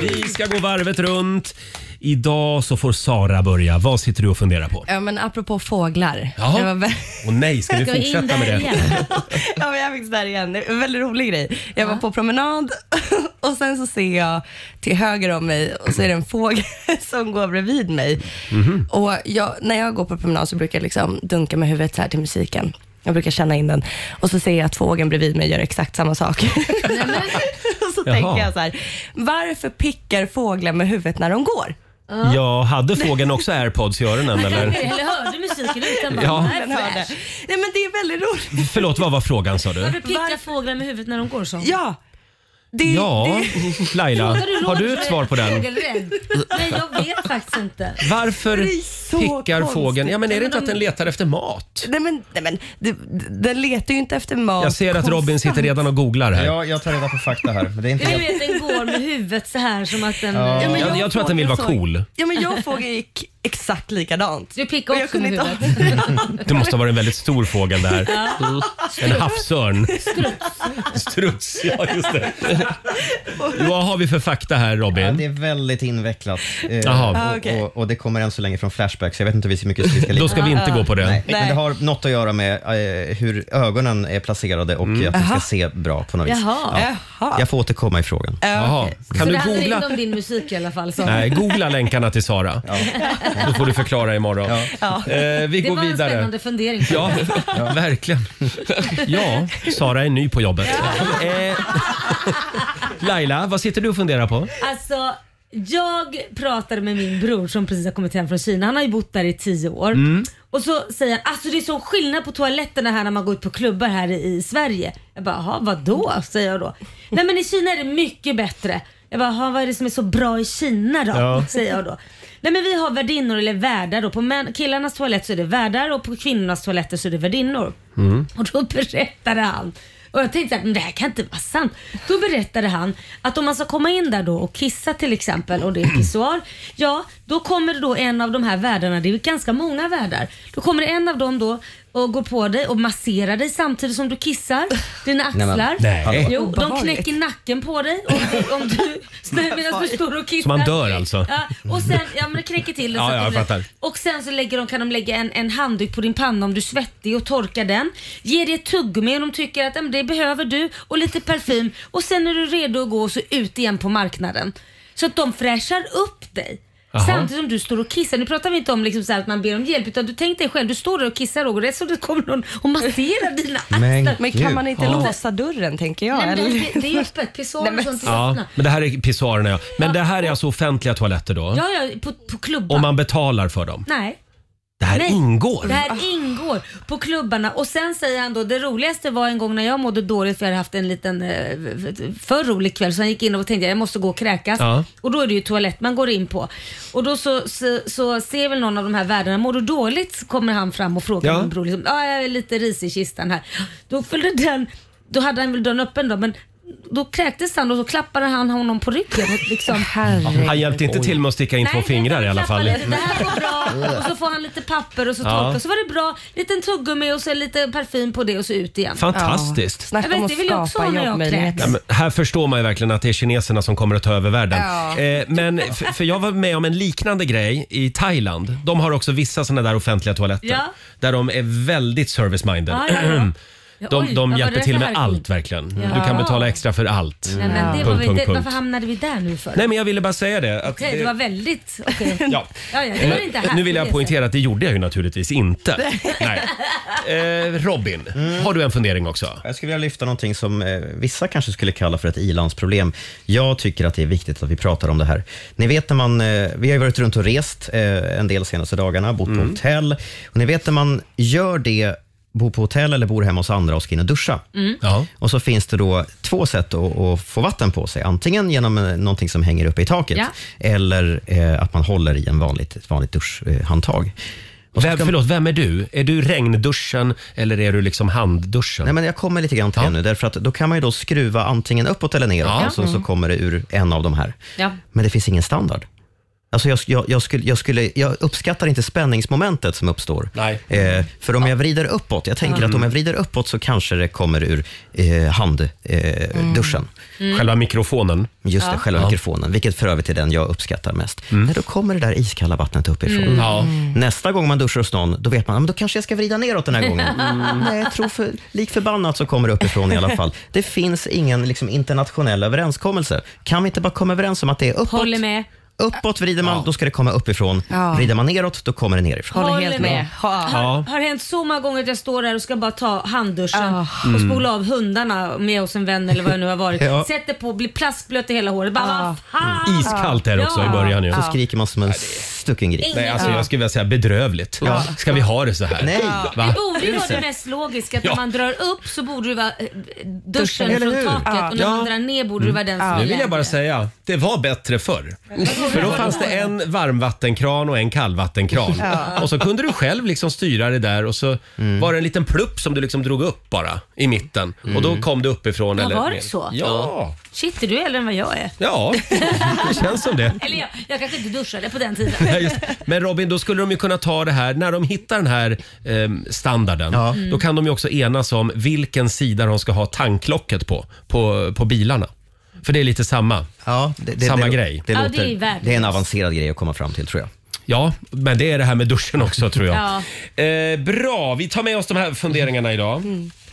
Vi ska gå varvet runt. Idag så får Sara börja. Vad sitter du och funderar på? Ja, men apropå fåglar. Jaha. Det var vä- Och nej, ska vi Ska jag in fortsätta med där det? igen? ja, men jag fick det där igen. Det var en väldigt rolig grej. Jag var på promenad och sen så ser jag till höger om mig och så är det en fågel som går bredvid mig. Mm-hmm. Och jag, när jag går på promenad så brukar jag liksom dunka med huvudet så här till musiken. Jag brukar känna in den och så ser jag att fågeln bredvid mig gör exakt samma sak. och så Jaha. tänker jag så här, varför pickar fåglar med huvudet när de går? Ja, hade fågeln också airpods i öronen eller? Eller hörde musiken utan bara, Ja. ja. Den hörde. fräsch. Nej, men det är väldigt roligt. Förlåt, vad var frågan sa du? Varför pickar fåglar med huvudet när de går så? Ja. Det, Ja, det, Laila, har du ett svar på den? Nej, jag vet faktiskt inte. Varför Det är så pickar konstigt. fågeln? Ja, men är Ja, det men inte att de- den letar efter mat? nej men, nej men, det, den letar ju inte efter mat. Jag ser att konstant. Robin sitter redan och googlar här. Ja, jag tar reda på fakta här. Men det är inte Du helt... vet, den går med huvudet så här som att den... Ja, men Jag, jag tror att den vill vara fågel såg- cool. Ja, men jag frågade gick exakt likadant. Du pickar Och jag också kunde med inte- Det måste ha varit en väldigt stor fågel där. En havsörn. Struts. ja just det. Vad har vi för fakta här Ja, Robin? det är väldigt invecklat. Eh, Jaha. och, Okej. och, och det kommer än så länge från Flashback, så jag vet inte hur mycket vi ska ligga Då ska vi inte gå på det. Nej. Men det har något att göra med eh, hur ögonen är placerade och Mm. att de ska se bra på något vis. Jaha. Jaha. Jag får återkomma i frågan. Jaha. Kan Så du det handlar inte googla? om din musik i alla fall. Så. Nej, googla länkarna till Sara. Då får du förklara imorgon. Eh, vi Det går var en vidare. spännande fundering. Ja, verkligen. Ja, Sara är ny på jobbet. Eh, Laila, vad sitter du och funderar på? Alltså, jag pratade med min bror som precis har kommit hem från Kina. Han har ju bott där i tio år. Mm. Mm. Och så säger han, alltså det är sån skillnad på toaletterna här när man går ut på klubbar här i, i Sverige. Jag bara, jaha vadå? Säger jag då. Nej men i Kina är det mycket bättre. Jag bara, jaha vad är det som är så bra i Kina då? Ja. Säger jag då. Nej men vi har värdinnor eller värdar då. På män, killarnas toalett så är det värdar och på kvinnornas toaletter så är det värdinnor. Mm. Och då berättade han. Och jag tänkte att det här kan inte vara sant. Då berättade han att om man ska komma in där då och kissa till exempel och det är pissoar. Ja, då kommer det då en av de här värdarna, det är ganska många värdar. Då kommer det en av dem då och går på dig och masserar dig samtidigt som du kissar dina men- axlar. Nej. Jo, de Obehagligt. knäcker nacken på dig om, om du, medan du står och kissar. Så man dör alltså? Ja, och sen, ja men det knäcker till den Ja, så att ja, det jag blir- fattar. Och sen så lägger de, kan de lägga en, en handduk på din panna om du är svettig och torkar den. Ge dig ett tuggummi om de tycker att "Ja, men det behöver du och lite parfym och sen är du redo att gå och så ut igen på marknaden. Så att de fräschar upp dig. Jaha. Samtidigt som du står och kissar. Nu pratar vi inte om liksom så här att man ber om hjälp utan du tänk dig själv, du står där och kissar Roger och det är som det kommer någon och masserar dina axlar. Men Men kan man inte låsa dörren tänker jag? Nej, men eller? det, det är ju öppet, pissoar och sånt är Ja, öppna. men det här är pissoarerna ja. Men det här är alltså offentliga toaletter då? Ja, ja, på, på klubbar. Och man betalar för dem? Nej. Det här Nej. ingår? Det här ingår på klubbarna och sen säger han då det roligaste var en gång när jag mådde dåligt för jag hade haft en liten eh, för rolig kväll så han gick in och tänkte jag måste gå och kräkas Ja. och då är det ju toalett man går in på och då så, så, så ser väl någon av de här värdarna mår du dåligt så kommer han fram och frågar Ja. min bror liksom, ja jag är lite risig i kistan här. Då följde den, då hade han väl dörren öppen då men då kräktes han och så klappade han honom på ryggen. Liksom. Han hjälpte inte till med att sticka in två Nej, fingrar i alla klappade fall. lite. Alltså, Det här var bra. Och så får han lite papper och så Ja. torkar. Så var det bra. Liten tuggummi och så lite parfym på det och så ut igen. Fantastiskt. Snacka Jag vet, om att det vill jag också skapa ha när jag jobbmöjligheter. Ja, men här förstår man ju verkligen att det är kineserna som kommer att ta över världen. Ja. Eh, men f- för jag var med om en liknande grej i Thailand. De har också vissa sådana där offentliga toaletter Ja. där de är väldigt service-minded. Mm. Ja, ja, ja. Ja, De, oj, de vad var hjälper det till för med härkom? allt verkligen. Ja. Du kan betala extra för allt. Mm. Nej, men det var Punkt, väl punkt, det, varför punkt. hamnade vi där nu för? Nej men jag ville bara säga det. Att Okej, det det var väldigt... okej. ja. Ja, ja, det var Eh, inte här. nu vill på jag det sättet. poängtera att det gjorde jag ju naturligtvis inte. Nej. Eh, Robin, har du en fundering också? Jag skulle vilja lyfta någonting som eh, vissa kanske skulle kalla för ett ilandsproblem. Jag tycker att det är viktigt att vi pratar om det här. Ni vet när man, eh, vi har ju varit runt och rest eh, en del senaste dagarna, bott på hotell. Och ni vet när man gör det, bor på hotell eller bor hemma hos andra och ska in och duscha. Mm. Ja. Och så finns det då två sätt att, att få vatten på sig. Antingen genom eh, någonting som hänger uppe i taket Ja. eller eh, att man håller i en vanligt, ett vanligt duschhandtag. Och så Vem, ska- förlåt, vem är du? Är du regnduschen eller är du liksom handduschen? Nej, men jag kommer lite grann till det nu, därför att då kan man ju då skruva antingen uppåt eller neråt Ja. och så, så kommer det ur en av de här. Ja. Men det finns ingen standard. Alltså jag, jag, jag, skulle, jag, skulle, jag uppskattar inte spänningsmomentet som uppstår. Nej. Eh, för om jag vrider uppåt, jag tänker att om jag vrider uppåt så kanske det kommer ur eh, handduschen. Eh, duschen. Själva mikrofonen. Just det, själva mikrofonen, vilket för övrigt är den jag uppskattar mest. Nej, då kommer det där iskalla vattnet uppifrån. Mm. Ja. Nästa gång man duschar hos någon, då vet man att då kanske jag ska vrida neråt den här gången. Mm. Nej, jag tror för, lik förbannat så kommer det uppifrån i alla fall. Det finns ingen liksom, internationell överenskommelse. Kan vi inte bara komma överens om att det är uppåt? Håller med. Uppåt vrider man, då ska det komma uppifrån. Ja. Vrider man neråt, då kommer det nerifrån. Håller Håller helt med. med. Ha. Ja. Har hänt så många gånger att jag står där och ska bara ta handduschen Ah. Mm. och spola av hundarna med hos en vän eller vad jag nu har varit. Ja. Sätter på, blir plastblöt i hela håret. Bara, Ah. vad fan! Iskallt är det också i Ja. början ju. Så skriker man som en stucken gris. Nej, alltså jag skulle vilja säga bedrövligt. Ska vi ha det så här? Nej. Va? Det borde ju vara det mest logiska att Ja. när man drar upp så borde det vara eh, duschen Duschen, från eller hur? taket och när Ja. Mm. man drar ner borde det vara Mm. den som Mm. Nu är vill jag bara lägre. säga, det var bättre förr. För då fanns det en varmvattenkran och en kallvattenkran. Och så kunde du själv liksom styra det där och så Mm. var det en liten plupp som du liksom drog upp bara i mitten. Och Mm. då kom det uppifrån. Ja, eller var det ner. så? Ja. Shit, är du äldre än vad jag är? Ja, det känns som det. Eller jag, jag kanske inte duschade på den tiden. Ja, just. Men Robin, då skulle de ju kunna ta det här, när de hittar den här ehm, standarden, Ja. då kan de ju också enas om vilken sida de ska ha tanklocket på, på, på bilarna. För det är lite samma. Ja, det, det, Samma det, grej. Det, Ja, låter, det är värdelöst. det är en avancerad grej att komma fram till, tror jag. Ja, men det är det här med duschen också tror jag. Ja. Mm. Eh, bra, vi tar med oss de här funderingarna idag.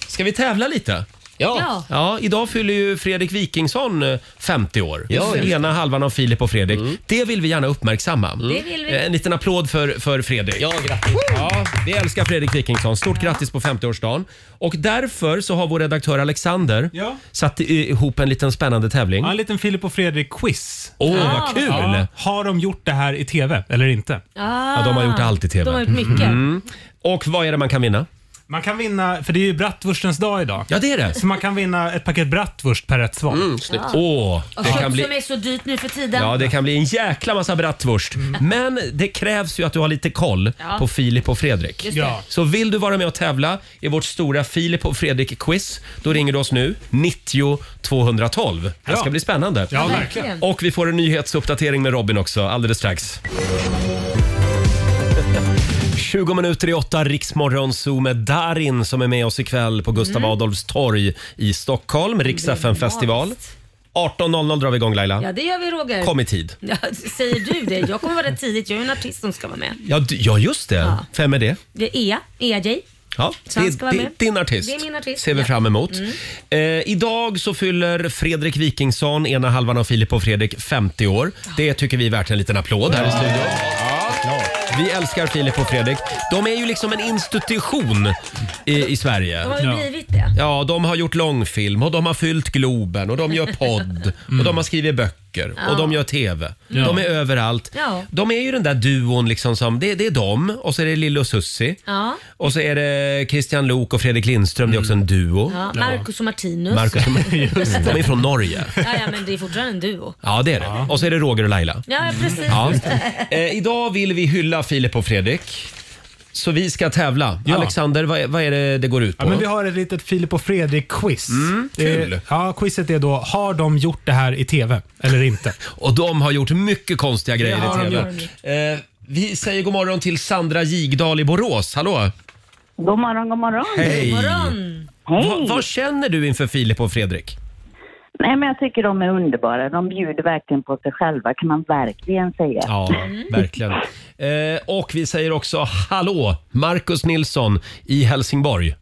Ska vi tävla lite? Ja. Ja, idag fyller ju Fredrik Wikingsson eh, 50 år. Ja, just det. Mm. Ena halvan av Filip och Fredrik. Det vill vi gärna uppmärksamma. vill vi. Eh, En liten applåd för, för Fredrik. Ja, grattis. Ja, vi älskar Fredrik Wikingsson. Stort grattis på 50-årsdagen. Och därför så har vår redaktör Alexander Ja. satt i- ihop en liten spännande tävling. Ja, en liten Filip och Fredrik-quiz. Åh, vad kul! Ja. Ja, har de gjort det här i TV eller inte? Ah, de har gjort allt i Mm. de har TV. gjort mycket. Och vad är det man kan vinna? Man kan vinna, för det är ju bratwurstens dag idag. Ja, det är det. Mm, Så man kan vinna ett paket bratwurst per rätt svar. Åh, Och det kött kan bli... som är så dyrt nu för tiden. Mm. Ja, det kan bli en jäkla massa bratwurst. Men det krävs ju att du har lite koll Ja. på Filip och Fredrik. Just det. Ja. Så vill du vara med och tävla i vårt stora Filip och Fredrik-quiz, då ringer du oss nu. 90 212. Det ska Ja. bli spännande. Ja, verkligen. Verkligen. Och vi får en nyhetsuppdatering med Robin också alldeles strax. 20 minuter i åtta, Riksmorgon Zoo med Darin som är med oss ikväll på Gustav Mm. Adolfs torg i Stockholm, Rix FM festival. 18.00 drar vi igång Laila. Ja, det gör vi Roger. Kom i tid. Ja, säger du det? Jag kommer vara där tidigt. Jag är ju en artist som ska vara med. Ja, d- ja just det. Vem är det? Det är Ea, EAJ. Ja, Så han det, ska vara det, med. din artist. Det är min artist, Ser vi ja. Mm. fram emot. Eh, idag så fyller Fredrik Wikingsson, ena halvan av Filip och Fredrik, 50 år. Det tycker vi är värt en liten applåd här i studion. Vi älskar Filip och Fredrik. De är ju liksom en institution i, i Sverige. De har ju Ja. blivit det. Ja, de har gjort långfilm och de har fyllt Globen och de gör podd och de har skrivit böcker och de gör TV. De är överallt. Ja. De är ju den där duon liksom som, det, det är de och så är det Lille och Sussi. Ja. Och så är det Christian Lok och Fredrik Lindström, det är också en duo. Ja, Marcus och Martinus. Marcus, de är från Norge. Ja, ja, men det är fortfarande en duo. Ja, det är det. Och så är det Roger och Laila. Ja, ja, precis. Ja. Eh, idag vill vi hylla Filip och Fredrik Så vi ska tävla. Ja. Alexander, vad är, vad är det det går ut på? Eh, Ja, men vi har ett litet Filip och Fredrik-quiz. Det är- Mm, kul. Ja, quizet är då, har de gjort det här i TV eller inte? Och de har gjort mycket konstiga grejer har i de TV. Eh, vi säger god morgon till Sandra Jigdal i Borås. Hallå! God morgon, god morgon. Hej! Morgon. Hej. Va, vad känner du inför Filip och Fredrik? Nej, men jag tycker de är underbara. De bjuder verkligen på sig själva, kan man verkligen säga. Mm. Ja, Mm. verkligen. Eh, och vi säger också hallå, Marcus Nilsson i Helsingborg.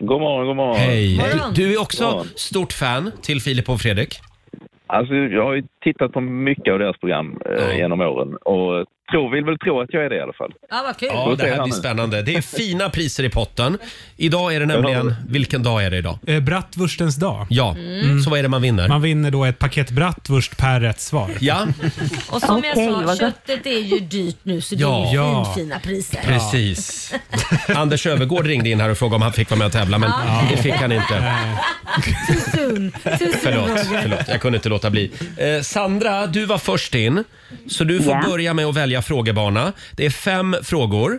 God morgon, god morgon. Hej! Morgon. Du är också Morgon. stort fan till Filip och Fredrik. Alltså, jag har ju tittat på mycket av deras program eh, Ja. genom åren och tror, vill väl tro att jag är det i alla fall. Ja, vad kul. Ja, det säger här han blir nu. spännande. Det är fina priser i potten. Idag är det nämligen, vilken dag är det idag? Eh, Bratwurstens dag. Mm. Ja, så vad är det man vinner? Man vinner då ett paket bratwurst per rätt svar. Ja, Och som Okej, jag sa, vad gott. köttet är ju dyrt nu så det Ja. är ju Ja. finfina priser. precis. Anders Övergård ringde in här och frågade om han fick vara med och tävla, men det fick han inte. Eh. Soon. Soon, Förlåt, Roger. förlåt, jag kunde inte låta bli. Eh, Sandra, du var först in, så du får Ja. börja med att välja frågebana. Det är fem frågor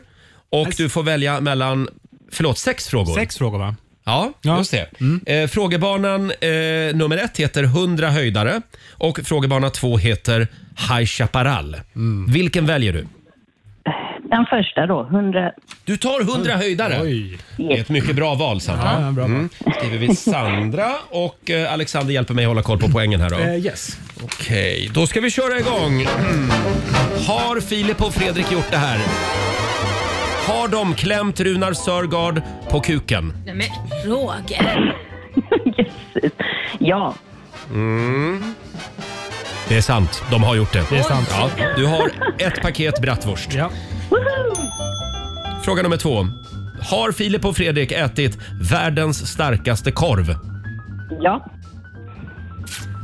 och du får välja mellan, förlåt, sex frågor. Alltså- Sex frågor va? Ja, Ja. Mm. just det. Eh, frågebanan eh, nummer ett heter 100 höjdare och frågebana två heter High Chaparral. Mm. Vilken väljer du? Den första då, 100... Du tar 100 höjdare. Oj. Det är ett mycket bra val, Sandra. Ja, bra. Mm. skriver vi Sandra och eh, Alexander hjälper mig hålla koll på poängen här då. Eh, yes. Okej, då ska vi köra igång. Mm. Har Filip och Fredrik gjort det här? Har de klämt Runar Sörgard på kuken? Nej, men Roger. Jesus. Ja, Mm. Det är sant, de har gjort det. Det är sant. Ja, du har ett paket bratwurst. Ja. Fråga nummer två. Har Filip och Fredrik ätit världens starkaste korv? ja.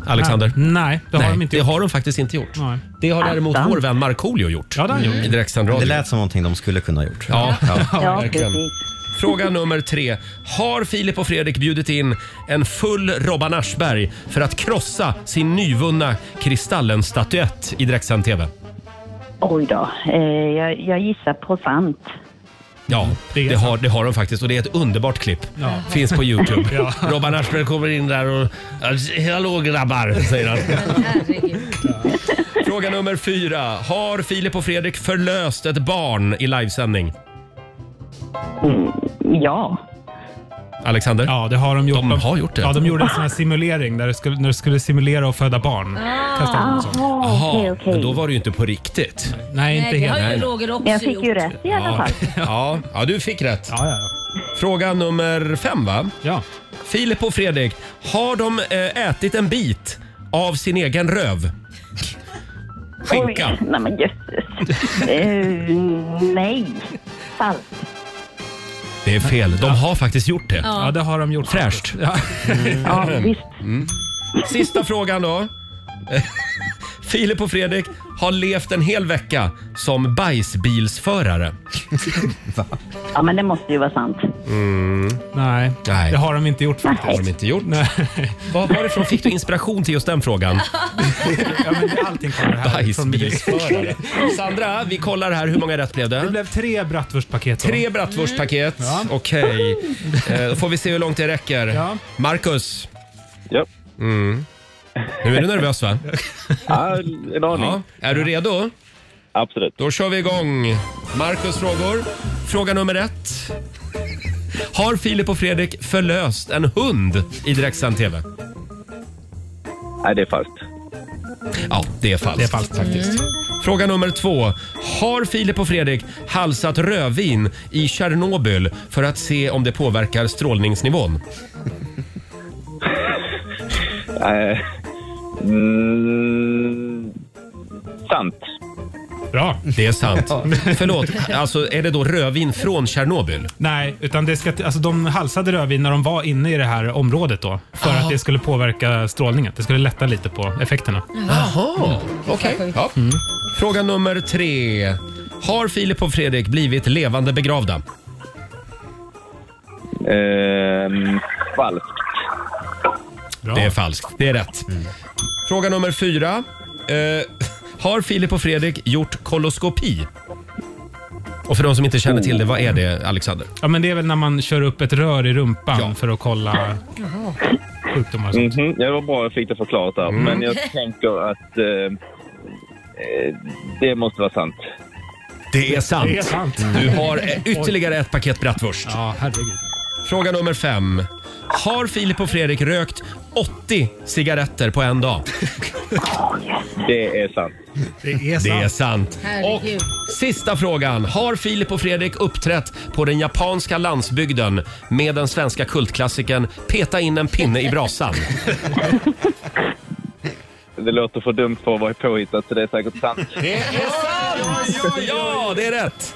Alexander? Nej, det har Nej, de inte det gjort. har de faktiskt inte gjort. Nej. Det har däremot Attan. vår vän Markoolio gjort. Ja, det har han I gjort. direktsänd Det radio. lät som någonting de skulle kunna ha gjort. Ja, Ja, verkligen. precis. Fråga nummer tre. Har Filip och Fredrik bjudit in en full Robban Aschberg för att krossa sin nyvunna Kristallen-statyett i direktsänd TV? Oj då. Eh, jag, jag gissar på sant. Ja, det är det har, det har de faktiskt och det är ett underbart klipp. Ja. Finns på Youtube. Ja. Robban Aschberg kommer in där och “Hallå grabbar” säger han. Herregud. Fråga nummer fyra. Har Filip och Fredrik förlöst ett barn i livesändning? Ja. Alexander? Ja, det har de gjort. De har gjort det. Ja, de gjorde en sån här simulering där de skulle, när de skulle simulera och föda barn. Ah. Testade de sånt. Jaha, Jaha, okej, okej. men då var det ju inte på riktigt. Nej, inte Nej, det helt. har Nej, ju nej. Roger också Jag fick ju gjort. rätt i alla Ja, fall. ja, ja, du fick rätt. Ja, ja, Fråga nummer fem, va? ja. Filip och Fredrik, har de eh, ätit en bit av sin egen röv? Skinka. Oj, nej men jösses. Eh, nej. Falskt. Det är fel. De har faktiskt gjort det. Ja, det har de gjort. Fräscht. Mm. Ja. Ja, visst. Sista frågan då. Filip och Fredrik har levt en hel vecka som bajsbilsförare. Ja, men det måste ju vara sant. Nej, Nej. det har de inte gjort har faktiskt. de inte gjort. Nej. Var, varifrån fick du inspiration till just den frågan? Ja, men allting kommer här från mig. Bajsbilsförare. Sandra, vi kollar här. Hur många rätt blev Det blev tre bratwurstpaket. då. Mm. Tre bratwurstpaket. Ja. Okej. Eh, Då får vi se hur långt det räcker. Ja. Marcus, Ja, Mm. nu är du nervös va? ja en aning. Ja. Är du redo? Absolut. Då kör vi igång. Marcus frågor. Fråga nummer ett. Har Filip och Fredrik förlöst en hund i direktsänd TV? Nej, det är fast. Ja, det är falskt. Mm. Det är falskt faktiskt. Fråga nummer två. Har Filip och Fredrik halsat rödvin i Tjernobyl för att se om det påverkar strålningsnivån? Nej. Eh, Mm, sant. Bra. Det är sant. Förlåt, alltså är det då rödvin från Tjernobyl? Nej, utan det ska, alltså de halsade rödvin när de var inne i det här området då. För att det skulle påverka strålningen. Det skulle lätta lite på effekterna. Mm. Jaha, okej. Ja. Fråga nummer tre. Har Filip och Fredrik blivit levande begravda? Ehm, falskt. Bra. Mm. Det är falskt. Det är rätt. Fråga nummer fyra. Eh, har Filip och Fredrik gjort koloskopi? Och för de som inte känner till det, vad är det Alexander? Ja, men det är väl när man kör upp ett rör i rumpan för att kolla sjukdomar Mm. och sånt. Mhm, ja, det var bra jag fick det förklarat där. Mm. Men jag tänker att eh, eh, det måste vara sant. Det är sant. Det är sant. Du har eh, ytterligare ett paket bratwurst. Ja, herregud. Fråga nummer fem. Har Filip och Fredrik rökt 80 cigaretter på en dag? Det är sant. Det är Det är sant. Herregud. Sista frågan. Har Filip och Fredrik uppträtt på den japanska landsbygden med den svenska kultklassikern Peta in en pinne i brasan? Det låter för dumt för att vara påhittat så det är säkert sant. Det är sant! Ja, det är rätt!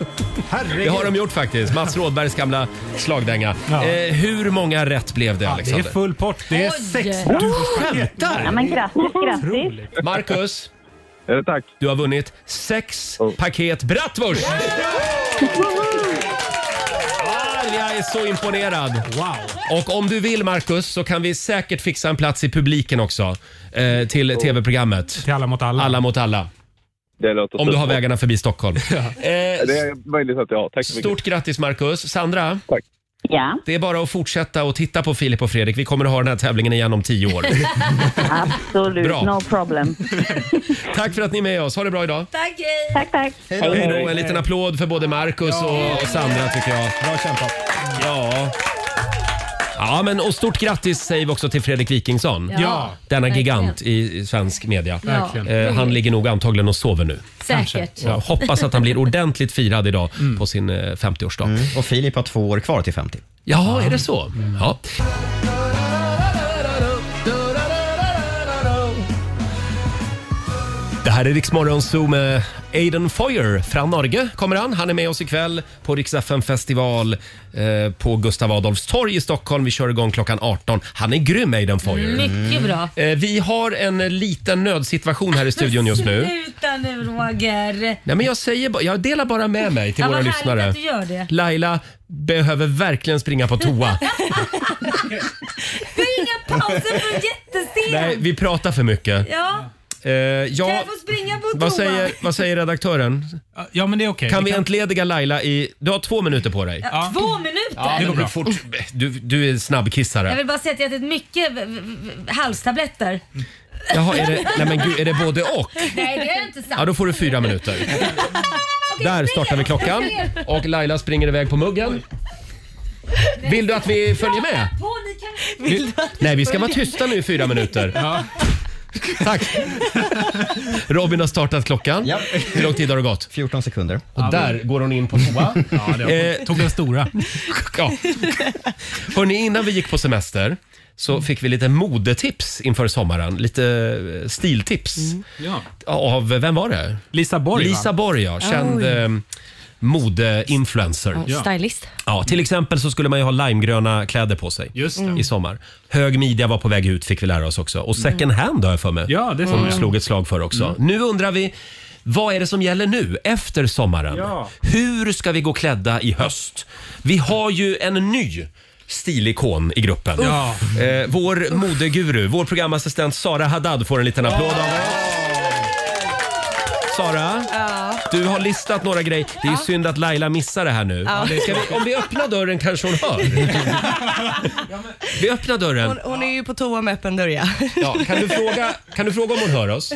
Det har de gjort faktiskt. Mats Rådbergs gamla slagdänga. Ja. Eh, hur många rätt blev det, Det är Alexander? full pott. Det är Oj. sex Du skämtar? Ja, men grattis, grattis. Marcus, tack. du har vunnit sex paket bratwurst! Ah, Jag är så imponerad. Wow. Och om du vill, Marcus, så kan vi säkert fixa en plats i publiken också eh, till tv-programmet Till alla mot alla. Alla mot alla. Det låter Om du har superbra. vägarna förbi Stockholm. Eh, Det är möjligt att jag har. Tack så mycket. Stort grattis Marcus. Sandra, Ja, det är bara att fortsätta och titta på Filip och Fredrik. Vi kommer att ha den här tävlingen igen om tio år. absolut. Bra. No problem. Tack för att ni är med oss. Ha det bra idag. Tack, hej! Tack, tack. Hej då. En liten applåd för både Marcus och och Sandra tycker jag. Bra kämpat. Ja. Ja, men och stort grattis säger vi också till Fredrik Wikingsson. Ja. Denna verkligen. gigant i i svensk media. Verkligen. Eh, han ligger nog antagligen och sover nu. Säkert. Så jag hoppas att han blir ordentligt firad idag på sin eh, 50-årsdag. Mm. Och Filip har två år kvar till 50. Ja, är det så? Ja. Det här är Rix Morgon Zoo med Aiden Foyer från Norge. Kommer han. han är med oss ikväll på Rix FM festival eh, på Gustav Adolfs torg i Stockholm. Vi kör igång klockan 18. Han är grym, Aiden Foyer. Mm, Mycket bra. Eh, vi har en liten nödsituation här i studion just nu. Sluta nu Roger. Nej, men jag, säger, ba- jag delar bara med mig till Ja, våra vad härligt lyssnare. att du gör det. Laila behöver verkligen springa på toa. Det är inga pauser för jättesent. Nej, vi pratar för mycket. Ja, Eh, ja, kan jag få springa på toa? vad, säger, vad säger redaktören? Ja, men det är okej. Kan vi kan- entlediga Laila i... Du har två minuter på dig. Ja, Två minuter? det går bra. Fort, du, du är Jag snabbkissare. vill bara säga att jag har ätit mycket v- v- v- halstabletter. Jaha, är det, nej men gud, är det både och? Nej, det är inte sant. Ja, då får du fyra minuter. Där startar vi klockan och Laila springer iväg på muggen. Vill du att vi följer med? På, ni kan... Nej, vi ska vara tysta nu i fyra minuter. Tack! Robin har startat klockan. Ja. Hur lång tid har det gått? 14 sekunder. Och där går hon in på toa. Ja, det Eh, var... Tog den stora. Ja. Hörrni, innan vi gick på semester så Mm. fick vi lite modetips inför sommaren. Lite eh, stiltips. Ja. Av, eh, vem var det? Mm. Lisa Borg, Lisa va? Borg, ja. Känd eh, modeinfluencer. Ja. Stylist. till exempel så skulle man ju ha limegröna kläder på sig Just det. i sommar. Hög midja var på väg ut fick vi lära oss också. Och second hand har jag för mig. Mm. Ja, det sa som jag. slog ett slag för också. Mm. Nu undrar vi, vad är det som gäller nu efter sommaren? Ja. Hur ska vi gå klädda i höst? Vi har ju en ny stilikon i gruppen. Ja. Eh, vår modeguru, vår programassistent Sara Haddad får en liten applåd av oss. Sara, du har listat några grejer. Det är ju synd att Laila missar det här nu. Ska vi, om vi öppnar dörren kanske hon hör. Vi öppnar dörren. Hon, hon är ju på toa med öppen dörr ja. Ja, kan, du fråga, kan du fråga om hon hör oss?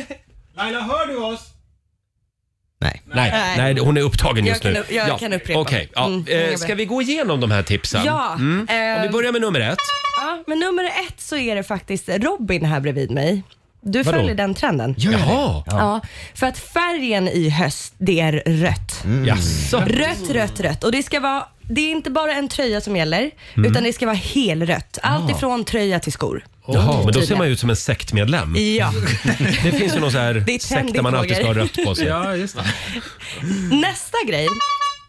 Laila, hör du oss? Nej. Nej, nej. Nej. hon är upptagen Jag just kan nu. upp- jag kan upprepa. okej, ja. Mm, Eh, jag ska ber. vi gå igenom de här tipsen? Mm. Ja, Om vi eh, börjar med nummer ett. ja, men nummer ett så är det faktiskt Robin här bredvid mig. Du Vadå? följer den trenden? Jaha, Ja. för att färgen i höst, det är rött. jaså. Rött, rött, rött. Och det ska vara, det är inte bara en tröja som gäller, Mm. utan det ska vara helrött. Allt ifrån tröja till skor. Jaha, men då ser Tydligen. man ju ut som en sektmedlem. Ja. Det finns ju någon sån Det här är sekt där man alltid ska ha rött på sig. Ja, just det. Nästa grej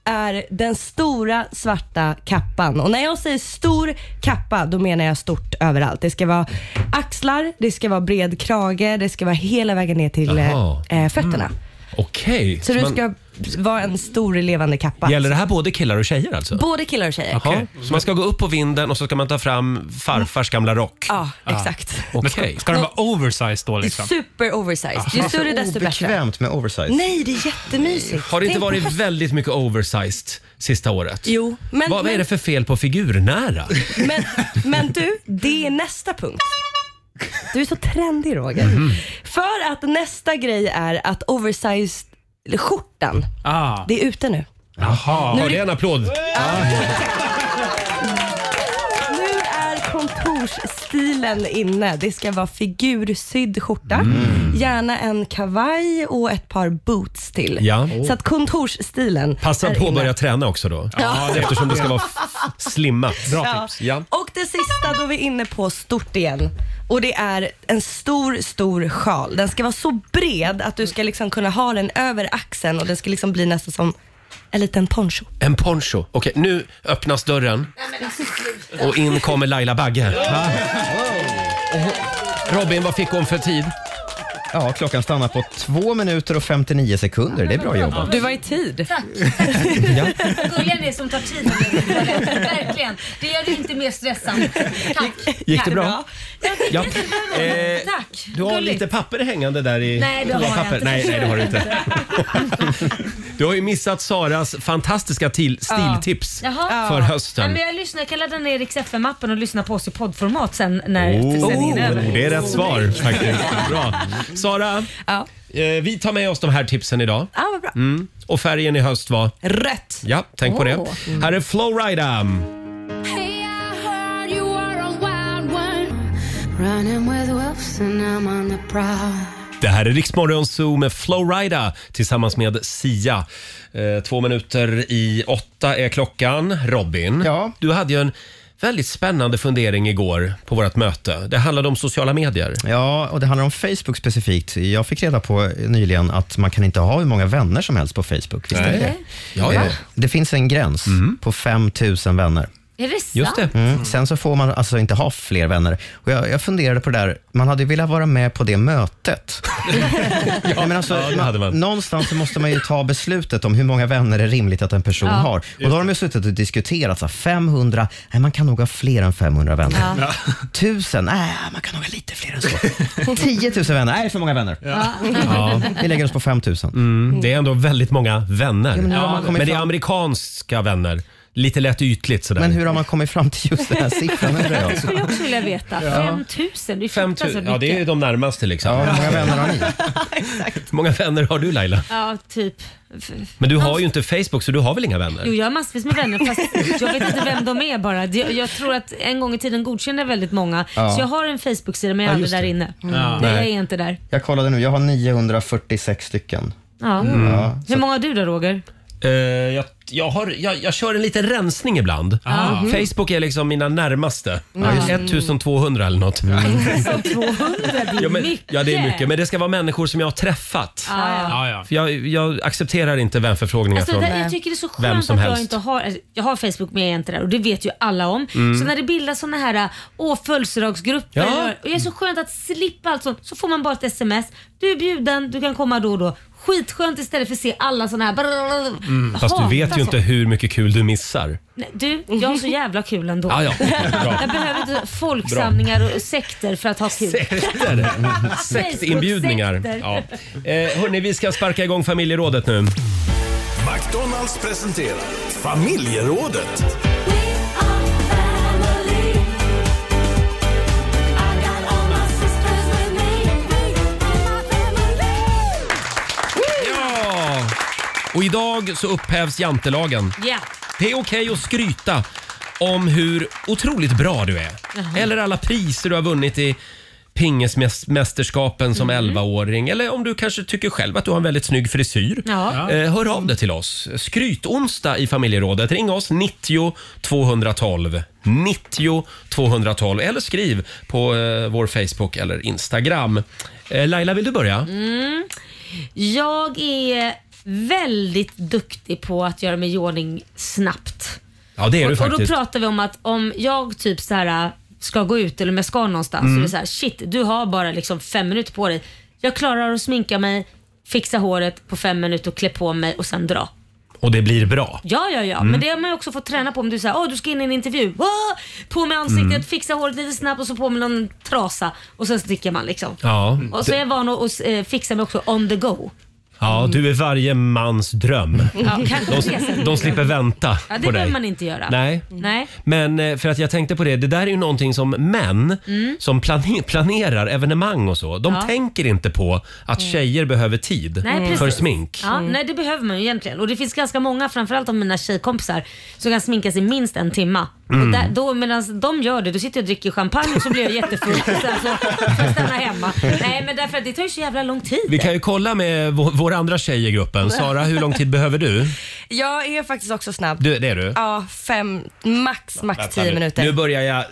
är den stora svarta kappan. Och när jag säger stor kappa, då menar jag stort överallt. Det ska vvara axlar, det ska vara bred krage, det ska vara hela vägen ner till eh, Jaha. Mm. eh, fötterna. Okej. Så du man- ska vara en stor levande kappa. Gäller det här både killar och tjejer alltså? Både killar och tjejer. Jaha, Så man ska gå upp på vinden och så ska man ta fram farfars gamla rock? Ah, Ja, exakt. Okej. Ska, ska den vara oversized då liksom? Super oversized. Ju Alltså, större desto bättre. Obekvämt med oversize. Nej, det är jättemysigt. Har det inte Tänk- varit väldigt mycket oversized sista året? Jo, men, vad, vad är det för fel på figurnära? men, men du, det är nästa punkt. Du är så trendig Roger. Mhm. För att nästa grej är att oversized skjortan, Ah. det är ute nu. Jaha, har det en applåd? Nu är kontorsstilen inne. Det ska vara figursydd skjorta, Mm. gärna en kavaj och ett par boots till. Ja. Så att kontorsstilen Passa är på att inne. börja träna också då. Ja. Eftersom det ska vara f- slimmat. Ja. Ja. Och det sista då vi är inne på stort igen. Och det är en stor, stor sjal. Den ska vara så bred att du ska liksom kunna ha den över axeln och den ska liksom bli nästan som en liten poncho. En poncho. Okej, nu öppnas dörren och in kommer Laila Bagge. Va? Eh, Robin, vad fick hon för tid? Ja, klockan stannar på 2 minuter och 59 sekunder. Det är bra jobbat. Du var i tid. Tack! Början är som tar tid. Verkligen. Det gör det inte mer stressande. Tack. Gick det Tack. bra? Ja. Eh, Tack. Du har Gulligt. lite papper hängande där i Nej, det har jag papper. inte. Eh, Nej, nej, det har du inte. Du har ju missat Saras fantastiska til- stiltips Jaha. för Nej, hösten. men jag, lyssnar, jag kan ladda ner Rix FM-appen och lyssna på oss i poddformat sen när sändningen är över. Oh, det är rätt svar faktiskt. Bra. Sara, Ja, eh, vi tar med oss de här tipsen idag. Mm. ja vad bra. Och färgen i höst var? Rött. Mm. Ja, tänk på det. Åh. Här är Flowrida. Hey, I heard you were a wild one. Running with wolves and I'm on the prowl. Det här är Riksmorgon Zoo med Flowrida tillsammans med Sia. Eh, två minuter i åtta är klockan. Robin, Ja. du hade ju en väldigt spännande fundering igår på vårt möte. Det handlade om sociala medier. Ja, och det handlar om Facebook specifikt. Jag fick reda på nyligen att man kan inte ha hur många vänner som helst på Facebook. Visst är det? Ja, ja. Mm. Eh, Det finns en gräns på 5 000 vänner. Är det sant? Just det. Mm. Sen så får man alltså inte ha fler vänner. Och jag, jag funderade på det där, man hade ju velat vara med på det mötet. Nej, men alltså, det hade man. Någonstans så måste man ju ta beslutet om hur många vänner är rimligt att en person har. Och då har de ju suttit och diskuterat, så här, 500, nej man kan nog ha fler än 500 vänner. Tusen, nej man kan nog ha lite fler än så. 10 000 vänner, nej det är för många vänner. Ja. Vi lägger oss på 5 000. Mm, det är ändå väldigt många vänner. men nu har man men, kommit det är fram- amerikanska vänner. Lite lätt ytligt sådär. Men hur har man kommit fram till just den här siffran? undrar jag? Det skulle jag alltså. också vilja veta. 5000? Det är 5 fruktansvärt 000, ja, det är ju mycket. de närmaste liksom. Ja, hur många vänner har ni? Hur många vänner har du Laila? Ja, typ. Men du har ju Alltså- inte Facebook så du har väl inga vänner? Jo, jag har massvis med vänner fast jag vet inte vem de är bara. Jag, jag tror att en gång i tiden godkände jag väldigt många. Så jag har en Facebook-sida men jag är aldrig där inne. Mm. Nej, jag är inte där. Jag kollade nu, jag har 946 stycken. Ja. Mm. Ja, Hur många har du då Roger? Eh, jag, jag, har, jag, jag kör en liten rensning ibland. Mhm. Facebook är liksom mina närmaste. 1200 eller något. Mm. 200? Det är Mm. Ja, men, mycket. ja, det är mycket. Men det ska vara människor som jag har träffat. Ah, Ja, ja. För jag, jag accepterar inte vänförfrågningar Alltså, det från... där, jag tycker det är så Vem skönt som att jag helst. inte har, alltså, jag har Facebook men jag är inte där och det vet ju alla om. Så när det bildas sådana här äh, åh, födelsedagsgrupper Mm. Ja. och det är så skönt att slippa allt sånt. Så får man bara ett sms. Du är bjuden, du kan komma då och då. Skitskönt istället för att se alla sådana här brrrr, Mm, Fast du vet ju inte hur mycket kul du missar. Nej, du, jag har så jävla kul ändå. Ah, ja, okej, bra. Jag behöver inte folksamlingar och sekter för att ha kul. Sekter. Sektinbjudningar. Sekter. Ja. Eh, hörni, vi ska sparka igång familjerådet nu. McDonalds presenterar Familjerådet. Ja! Och idag så upphävs jantelagen. Ja. Det är okej att skryta om hur otroligt bra du är. Eller alla priser du har vunnit i pingismästerskapen som Mm. 11-åring. Eller om du kanske tycker själv att du har en väldigt snygg frisyr. Ja. Eh, hör av dig till oss. Skrytonsdag i familjerådet. Ring oss 90 212. 90 212. Eller skriv på eh, vår Facebook eller Instagram. Eh, Laila, vill du börja? Mm. Jag är väldigt duktig på att göra mig i ordning snabbt. Ja, det är du och, och då faktiskt. pratar vi om att om jag typ så här ska gå ut eller om Mm. jag ska någonstans så är det så här, shit du har bara liksom fem minuter på dig. Jag klarar att sminka mig fixa håret på fem minuter och klä på mig och sen dra. Och det blir bra. Ja, ja, ja. Mm. Men det har man ju också fått träna på om du säger åh du ska in i en intervju. Åh! På med ansiktet, Mm. fixa håret lite snabbt och så på med någon trasa och sen sticker man liksom. Ja. Och så är jag van att eh, fixa mig också on the go. Ja, du är varje mans dröm. Mm. Ja, kanske De, på det sättet. de slipper vänta Ja, på det dig. behöver man inte göra. Mm. Nej. Nej. Men eh, för att jag tänkte på det, det där är ju någonting som män Mm. som plane- planerar evenemang och så, de Ja. Mm. tänker inte på att tjejer behöver tid Nej, precis. Mm. för smink. Ja, Mm. Nej, det behöver man ju egentligen. Och det finns ganska många, framförallt av mina tjejkompisar, som kan sminka sig minst en timma. Mm. Och där, då, medan de gör det, då sitter jag och dricker champagne och så blir jag jättefull och sen så får jag stanna hemma. Nej, men därför att det tar ju så jävla lång tid. Vi kan ju kolla med vår, vår andra tjej i gruppen. Sara, hur lång tid behöver du? Jag är faktiskt också snabb. Du, det är du? Ja, fem, max, max Vänta tio nu. minuter. Nu börjar jag...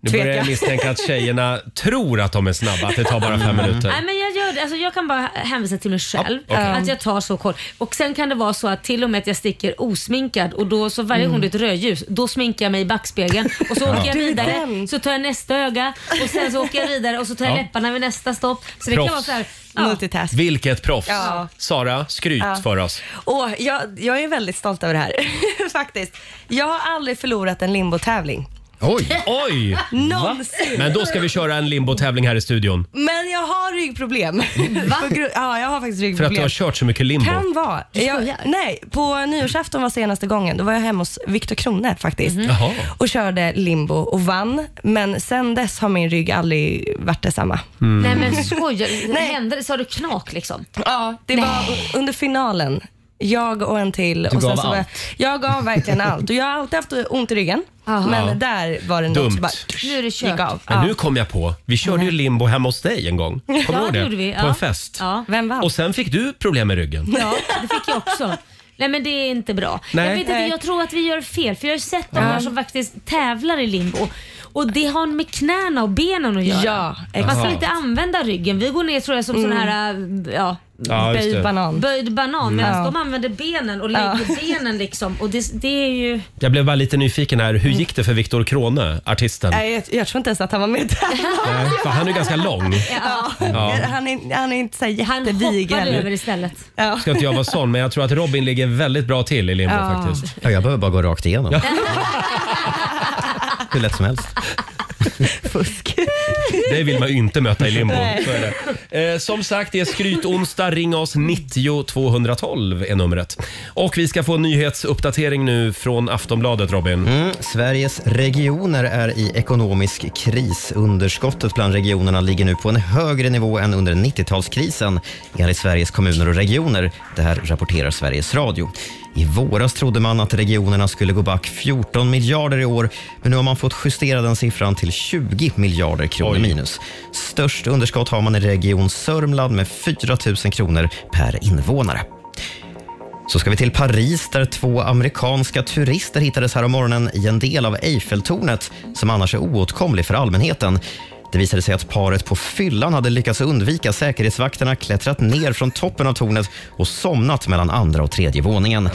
Nu börjar jag Tveka. misstänka att tjejerna tror att de är snabba, att det tar bara fem minuter. Mm. Nej, men jag, gör det. Alltså, jag kan bara hänvisa till mig själv. Mm. eh, Ja, okej. Att jag tar så kort. Och Sen kan det vara så att till och med att jag sticker osminkad och då så varje gång det är ett rödljus, då sminkar jag mig i backspegeln och så Ja. åker jag Du är vidare. Så tar jag nästa öga och sen så åker jag vidare och så tar jag Ja. läpparna vid nästa stopp. Så det Proffs. kan vara så här, ja. Multitask. Vilket proffs! Ja. Sara, skryt Ja. för oss. Åh, jag, jag är väldigt stolt över det här, faktiskt. Jag har aldrig förlorat en limbotävling. Oj! Oj! Va? Någonsin. Men då ska vi köra en limbotävling här i studion. Men jag har ryggproblem. På gru- ja, jag För har faktiskt att du ryggproblem. har kört så mycket limbo. Kan vara. Jag, nej, på nyårsafton var senaste gången. Då var jag hemma hos Viktor Krone faktiskt. Jaha. Och körde limbo och vann. Men sen dess har min rygg aldrig varit detsamma. Nej men skojar Nej. Hände det? Sa du knak liksom? Ja, Det var u- under finalen. Jag och en till. Du och gav så var jag, allt. jag gav verkligen allt. Och jag har alltid haft ont i ryggen. Men Ja. där var det något Dumt. som bara... Nu är det gick av. Men Ja. nu kom jag på, vi körde ju limbo hemma hos dig en gång. Kommer du Ja, ihåg det gjorde vi. På Ja. en fest. Ja. Vem vann? Och sen fick du problem med ryggen. Ja, det fick jag också. Nej men det är inte bra. Nej. Jag, vet inte, Nej. jag tror att vi gör fel för jag har sett de här som faktiskt tävlar i limbo. Och det har med knäna och benen att göra. Ja, Man exakt. ska inte använda ryggen. Vi går ner tror jag som sån här äh, ja, Ja, just det. böjd banan Mm. medan Ja. de använder benen och lägger benen liksom. Och det, det är ju... Jag blev bara lite nyfiken här, Mm. hur gick det för Viktor Krone, artisten? Nej, jag, jag tror inte ens att han var med där. Nej, för han är ju ganska lång. Ja. Ja. Han, är, han är inte så här jättevig. hoppade heller. över istället. Ja. Ska inte jag vara sån, men jag tror att Robin ligger väldigt bra till i limbo Ja. faktiskt. Ja, jag behöver bara gå rakt igenom. Hur lätt som helst. Det vill man ju inte möta i limbo. Nej. Så är det. Eh, som sagt, det är skrytonsdag. Ring oss 90 212 är numret. Och vi ska få en nyhetsuppdatering nu från Aftonbladet, Robin. Mm. Sveriges regioner är i ekonomisk kris. Underskottet bland regionerna ligger nu på en högre nivå än under 90-talskrisen enligt Sveriges kommuner och regioner. Det här rapporterar Sveriges Radio. I våras trodde man att regionerna skulle gå back 14 miljarder i år, men nu har man fått justera den siffran till 20 miljarder kronor minus. Störst underskott har man i Region Sörmland med 4 000 kronor per invånare. Så ska vi till Paris där två amerikanska turister hittades här om morgonen i en del av Eiffeltornet som annars är oåtkomlig för allmänheten. Det visade sig att paret på fyllan hade lyckats undvika säkerhetsvakterna, klättrat ner från toppen av tornet och somnat mellan andra och tredje våningen.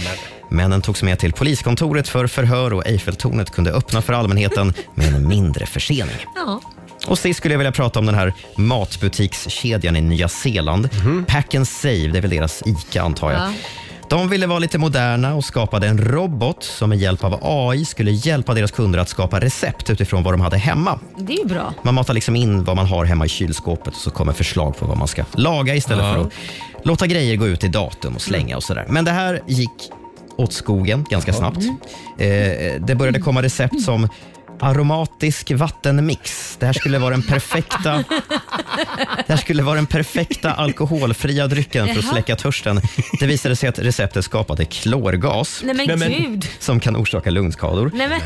Männen togs med till poliskontoret för förhör och Eiffeltornet kunde öppna för allmänheten med en mindre försening. Ja. Och sist skulle jag vilja prata om den här matbutikskedjan i Nya Zeeland. Pack and Save, det är väl deras ICA antar jag. Ja. De ville vara lite moderna och skapade en robot som med hjälp av AI skulle hjälpa deras kunder att skapa recept utifrån vad de hade hemma. Det är ju bra. Man matar liksom in vad man har hemma i kylskåpet och så kommer förslag på vad man ska laga istället Ja. för att låta grejer gå ut i datum och slänga och sådär. Men det här gick åt skogen ganska snabbt. Eh, det började komma recept som aromatisk vattenmix. Det här skulle vara den perfekta det här skulle vara den perfekta alkoholfria drycken för att Jaha. släcka törsten. Det visade sig att receptet skapade klorgas Nej, men Nej, men- gud. som kan orsaka lungskador. Nej, men,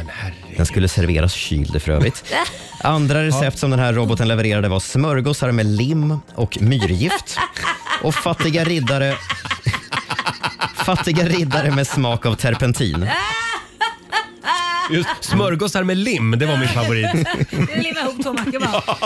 Den skulle serveras kyld för övrigt. Andra recept som den här roboten levererade var smörgåsar med lim och myrgift. Och fattiga riddare... Fattiga riddare med smak av terpentin. Just smörgåsar med lim, det var min favorit. Det limmar ihop två mackor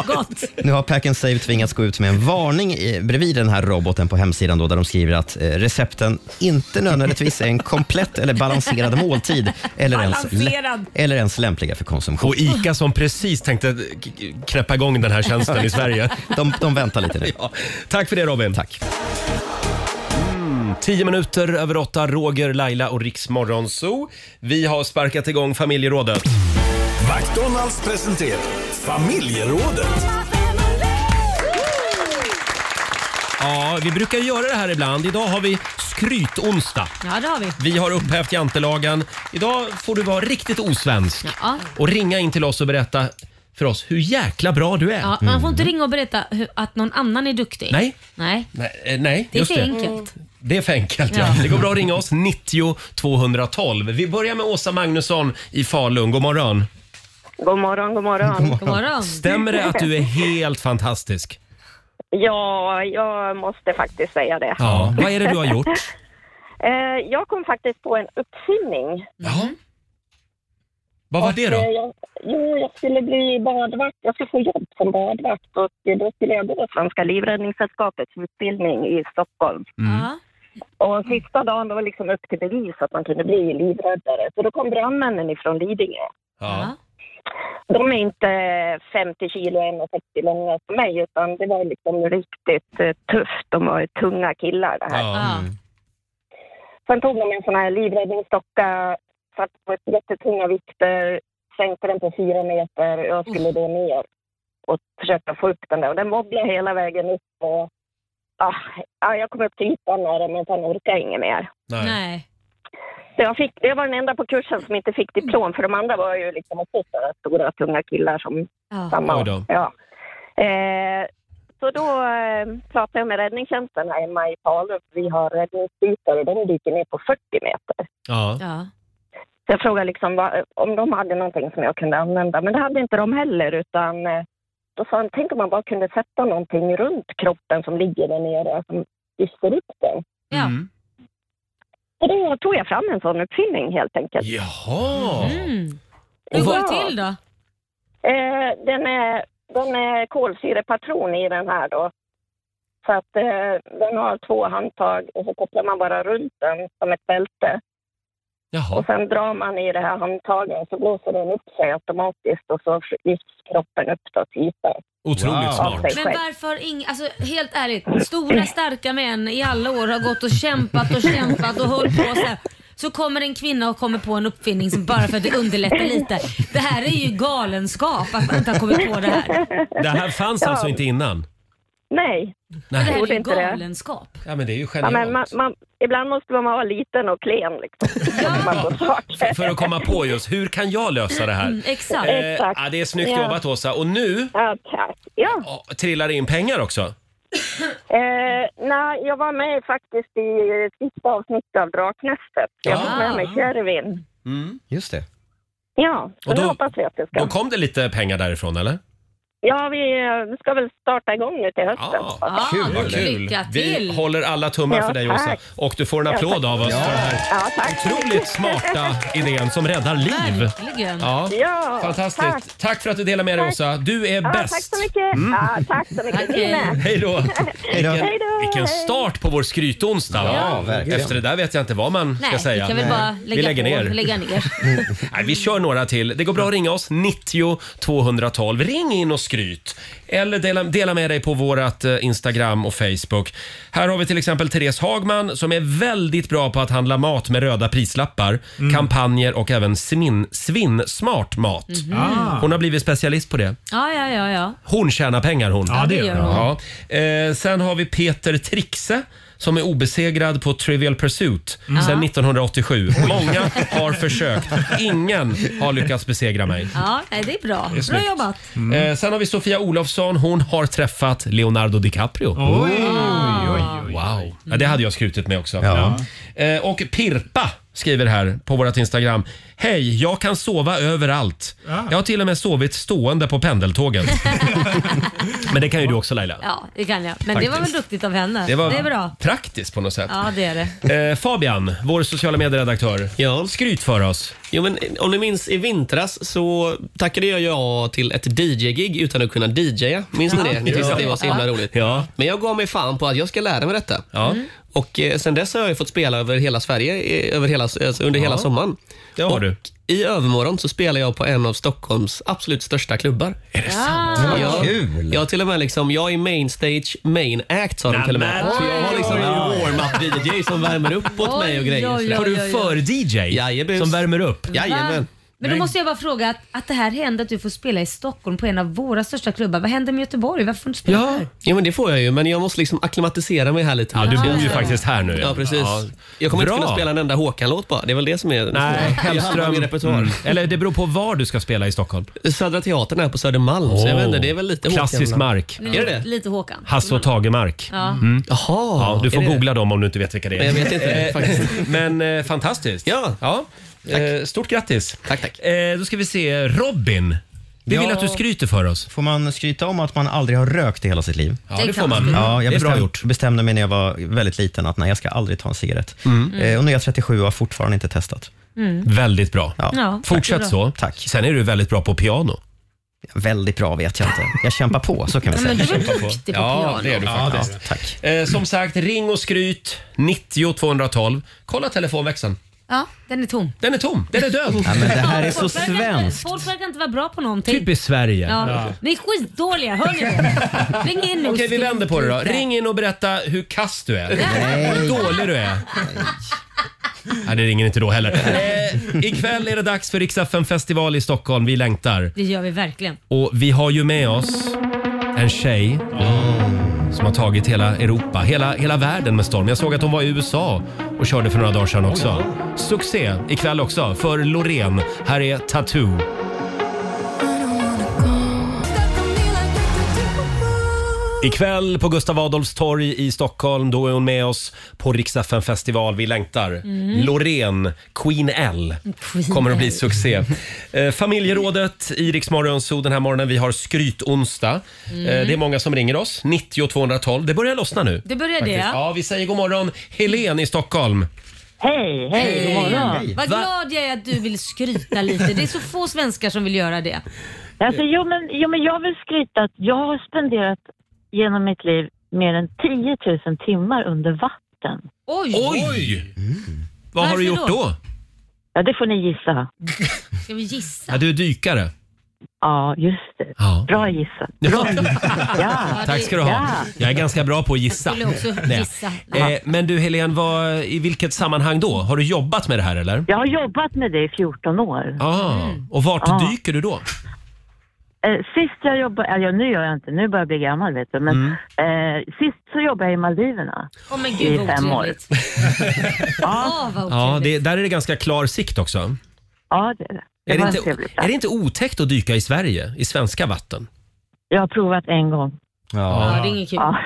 bara. Gott. Nu har Pack and Save tvingats gå ut med en varning i- bredvid den här roboten på hemsidan då, där de skriver att eh, recepten inte nödvändigtvis är en komplett eller balanserad måltid eller ens, Balanserad. eller ens lämpliga för konsumtion. Och ICA som precis tänkte k- k- knäppa igång den här tjänsten i Sverige. De, de väntar lite nu. Ja. Tack för det Robin. Tack. Mm, tio minuter över åtta, Roger, Laila och Riksmorgon Zoo. Vi har sparkat igång familjerådet. McDonalds presenterar familjerådet. Ja, vi brukar göra det här ibland. Idag har vi skrytonsdag. Ja, det har vi. Vi har upphävt jantelagen. Idag får du vara riktigt osvensk Ja. och ringa in till oss och berätta för oss hur jäkla bra du är. Ja, man får inte ringa och berätta hur, att någon annan är duktig. Mm. Nej. Nej. Nej, eh, nej Det är just för det. enkelt. Det är för enkelt, ja. Ja. Det går bra att ringa oss. 90 212. Vi börjar med Åsa Magnusson i Falun. God morgon. God morgon, god morgon. Stämmer det att du är helt fantastisk? Ja, jag måste faktiskt säga det. Ja. Vad är det du har gjort? Eh, jag kom faktiskt på en uppfinning. Mm. eh, Ja. Vad var det då? Jag, jo, jag skulle bli badvakt. Jag skulle få jobb som badvakt och eh, då skulle jag gå Svenska Livräddningssällskapets utbildning i Stockholm. Mm. Och sista dagen då var liksom upp till bevis att man kunde bli livräddare. Så då kom brandmännen ifrån Lidingö. Ja. De är inte 50 kilo och 1,60 långa som mig, utan det var liksom riktigt eh, tufft. De var ju tunga killar det här. Sen tog de en sån här livräddningsdocka, satt på ett jättetunga vikter, sänkte den på fyra meter och jag skulle då ner och försöka få upp den där. Och den wobblade hela vägen upp och ah, ja, jag kom upp till ytan med den men sen orkade jag inget mer. Nej. Så jag, fick, jag var den enda på kursen som inte fick diplom, för de andra var ju liksom också sådana stora, tunga killar som Ja. samma. Oj då. Ja. Eh, så då eh, pratade jag med räddningstjänsten här hemma i Falun. Vi har räddningsbitar och de dyker ner på 40 meter. Ja. Så jag frågade liksom vad, om de hade någonting som jag kunde använda, men det hade inte de heller. Utan eh, då sa han, tänk om man bara kunde sätta någonting runt kroppen som ligger där nere, som lyfter upp den. Ja. Mm. Och då tog jag fram en sån uppfinning helt enkelt. Jaha! Mm. Hur går Ja. det till då? Eh, den, är, den är kolsyrepatron i den här då. Så att eh, den har två handtag och så kopplar man bara runt den som ett bälte. Och sen drar man i det här handtagen så blåser den upp sig automatiskt och så lyfts kroppen upp då till ytan. Otroligt Wow. smart. Perfekt. Men varför har ingen, alltså helt ärligt, stora starka män i alla år har gått och kämpat och kämpat och hållit på så här. Så kommer en kvinna och kommer på en uppfinning som bara för att det underlättar lite. Det här är ju galenskap att man inte har kommit på det här. Det här fanns alltså inte innan? Nej. Det här är Gjorde ju inte det. galenskap. Ja, men det är ju Ja, genialt. men man, man, ibland måste man vara liten och klen liksom. För- För att komma på just, hur kan jag lösa det här? Mm, exakt. Eh, Exakt. ja, det är snyggt Ja. jobbat Åsa. Och nu Ja, tack. Ja. trillar det in pengar också. Eh, nej, jag var med faktiskt i eh, sista avsnittet av Draknästet. Jag var med Ah. med Kärvin. Just det. Ja, så Och nu då- hoppas vi att det ska... Mm. Då kom det lite pengar därifrån eller? Ja, vi eh, ska väl starta igång nu till hösten. Ja, Ah, Vad kul! Vi håller alla tummar Ja, för dig Åsa. tack. Och du får en Ja, applåd tack. av oss Ja. för den här Ja, tack. otroligt smarta idén som räddar liv. Verkligen. Ja, Ja, fantastiskt. Tack. tack. för att du delar med dig Åsa. Du är Ja, bäst. tack så mycket. Mm. Ja, tack så mycket. Ni med. Hej då! Vilken, Hej då, vilken hej. start på vår skrytonsdag. va? Ja, verkligen. Efter det där vet jag inte vad man ska Nej, säga. vi kan väl bara lägga vi lägger på, ner. Lägga ner. Nej, vi kör några till. Det går bra att ringa oss. 90 212. Ring in och skryt. Eller dela, dela med dig på vårt Instagram och Facebook. Här har vi till exempel Therese Hagman som är väldigt bra på att handla mat med röda prislappar, kampanjer och även smin, svinsmart mat. Mhm. Ah. Hon har blivit specialist på det. Ja, ja, ja, ja. Hon tjänar pengar hon. Ja, det gör hon. Ja. Eh, sen har vi Peter Trixe som är obesegrad på Trivial Pursuit Mm. sedan Ja. 1987. Många har försökt. Ingen har lyckats besegra mig. Ja, nej, det är bra. Det är bra snyggt. jobbat. Mm. Eh, sen har vi Sofia Olofsson. Hon har träffat Leonardo DiCaprio. Oj, oj, Wow. Ja, det hade jag skrutit med också. Eh, och Pirpa skriver här på vårt Instagram. Hej, jag kan sova överallt. Jag har till och med sovit stående på pendeltågen. Men det kan ju du också Laila. Ja, det kan jag. Men det var väl Faktiskt. duktigt av henne. Det var det är bra. praktiskt på något sätt. Ja, det är det. Eh, Fabian, vår sociala medieredaktör. Ja. Skryt för oss. Jo, men eh, om ni minns i vintras så tackade jag ja till ett DJ-gig utan att kunna DJa. Minns ni Ja. det? Ni tyckte att det var så himla Ja. roligt. Ja. Men jag gav mig fan på att jag ska lära mig detta. Mm. Och eh, sen dess har jag ju fått spela över hela Sverige eh, över hela, alltså under Ja. hela sommaren. Det har och du. I övermorgon så spelar jag på en av Stockholms absolut största klubbar. Är det sant? Jag, Kul! jag har till och med liksom, jag är main stage, main act sa de till och med. men- Så jag har liksom Oj, oj, oj. en debatt-DJ som värmer upp åt mig och grejer. Oj, oj, oj, Har du en oj. för-DJ som värmer upp? Va? Ah. Men då måste jag bara fråga, att, att det här händer att du får spela i Stockholm på en av våra största klubbar. Vad händer med Göteborg? Varför får du inte spela Ja, där? ja, men det får jag ju. Men jag måste liksom acklimatisera mig här lite. Ja, du bor ju faktiskt här nu. Ja, precis. Ja. Jag kommer Bra. inte kunna spela en enda Håkan-låt bara. Det är väl det som är... Nej, Jag har Hellström. min repertoar. Mm. Eller det beror på var du ska spela i Stockholm. Södra Teatern är på Södermalm, så jag vet inte, det är väl lite Klassisk Håkan. mark. Nu, Är det det? Lite Håkan. Hasse och Tagemark. Ja. Mm. Ja, du får är det googla dem om du inte vet vilka det är. Jag vet inte, Eh, faktiskt. Men eh, fantastiskt. Ja. ja. Eh, Stort grattis. Tack, tack. Eh, då ska vi se Robin. Vi vill Ja. att du skryter för oss. Får man skryta om att man aldrig har rökt i hela sitt liv? Ja, det Det får kan man. Mm. man. Ja, jag Det är bra bestäm- gjort. bestämde mig när jag var väldigt liten att nej, jag ska aldrig ta en cigarett. Mm. Eh, och nu är jag 37 och har fortfarande inte testat. Mm. Väldigt bra. Ja, Fortsätt tack. så. Tack. Sen är du väldigt bra på piano. Väldigt bra vet jag inte. Jag kämpar på, så kan vi Ja, säga. men du är Jag kämpar duktig på Ja, piano. det är du faktiskt. tack. Eh, som sagt, ring och skryt 90 212. Kolla telefonväxeln. Ja, den är tom. Den är tom. Den är död. Ja, men det här är så Folk verkar inte- svenskt. Folk verkar inte vara bra på någonting. Typiskt Sverige. Ja. Ni är skitdåliga, hör ni det? Ring in nu och Okej, vi skryt vänder på det då. lite. Ring in och berätta hur kass du är. Nej. Hur dålig du är. Nej, det ringer inte då heller. Eh, ikväll är det dags för Riksdagen festival i Stockholm. Vi längtar. Det gör vi verkligen. Och vi har ju med oss en tjej Mm. som har tagit hela Europa, hela, hela världen med storm. Jag såg att hon var i USA och körde för några dagar sedan också. Succé ikväll också för Loreen. Här är Tattoo. Ikväll på Gustav Adolfs torg i Stockholm, då är hon med oss på Rix FM festival. Vi längtar. Mm. Loreen, Queen L, Queen kommer att bli L. succé. Eh, familjerådet i Rix Morgonzoo den här morgonen. Vi har skrytonsdag. Mm. Eh, det är många som ringer oss. 90 212. Det börjar lossna nu. Det börjar det, Faktiskt. ja. Ja, vi säger god morgon. Helen i Stockholm. Hej, hej, god morgon. Vad Va? glad jag är att du vill skryta lite. Det är så få svenskar som vill göra det. Alltså, jo, men, jo, men jag vill skryta att jag har spenderat genom mitt liv mer än 10 000 timmar under vatten. Oj! Vad har du Varför gjort då? Ja, det får ni gissa. Ska vi gissa? Ja, du är dykare. Ja, just det. Bra gissat. Ja. Ja. Tack ska du ha. Ja. Jag är ganska bra på att gissa. Jag skulle också Nej. gissa. Eh, men du Helen, vad, i vilket sammanhang då? Har du jobbat med det här eller? Jag har jobbat med det i 14 år. Ah, och vart Ja. dyker du då? Eh, sist jag jobbade, eller ja, nu gör jag inte, nu börjar jag bli gammal vet du, men Mm. eh, sist så jobbade jag i Maldiverna. Åh men I gud vad fem år. otrevligt. Ja, vad Ja, otrevligt. det, där är det ganska klar sikt också. Ja, det är det. Det Är det, var inte, en trevlig plats. är det inte otäckt att dyka i Sverige, i svenska vatten? Jag har provat en gång. Ja, det är inget kul. Ja. Man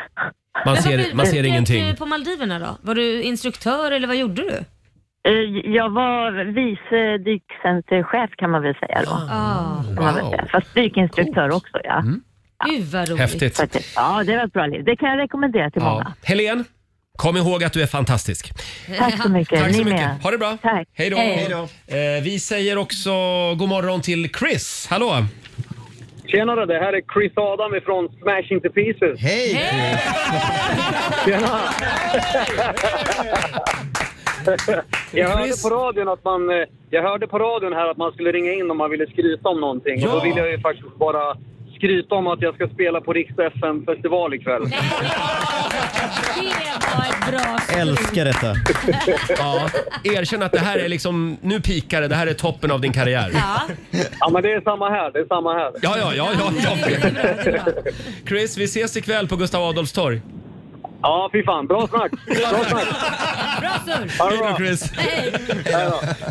Men vad ser, blev- man vad ser blev ingenting. du på Maldiverna då? Var du instruktör eller vad gjorde du? Eh, Jag var vice dykcenterchef kan man väl säga då. Ah. Kan man väl säga. Fast dykinstruktör också ja. Gud vad roligt. Mm. Häftigt. Så att det- Ja, det var ett bra liv. Det kan jag rekommendera till Ja. många. Helen, kom ihåg att du är fantastisk. Tack så mycket. Tack så Ni mycket. med. Ha det bra. Tack. Hej då. Hej. Eh, vi säger också god morgon till Chris. Hallå! Tjenare, det här är Chris Adam ifrån Smash Into Pieces. Hej! Tjena! Jag hörde, Chris. på radion att man, eh, jag hörde på radion här att man skulle ringa in om man ville skryta om någonting. Och då vill jag ju faktiskt bara skryta om att jag ska spela på Rix FM festival ikväll. Bra. Älskar detta. Ja, erkänn att det här är liksom, nu pikar det, det här är toppen av din karriär. Ja. Ja, men det är samma här. Det är samma här. Ja, ja, ja, ja, Chris, vi ses ikväll på Gustav Adolfs torg. Ja, fy fan. Bra snack. Bra snack. Bra surr. Hej då Chris.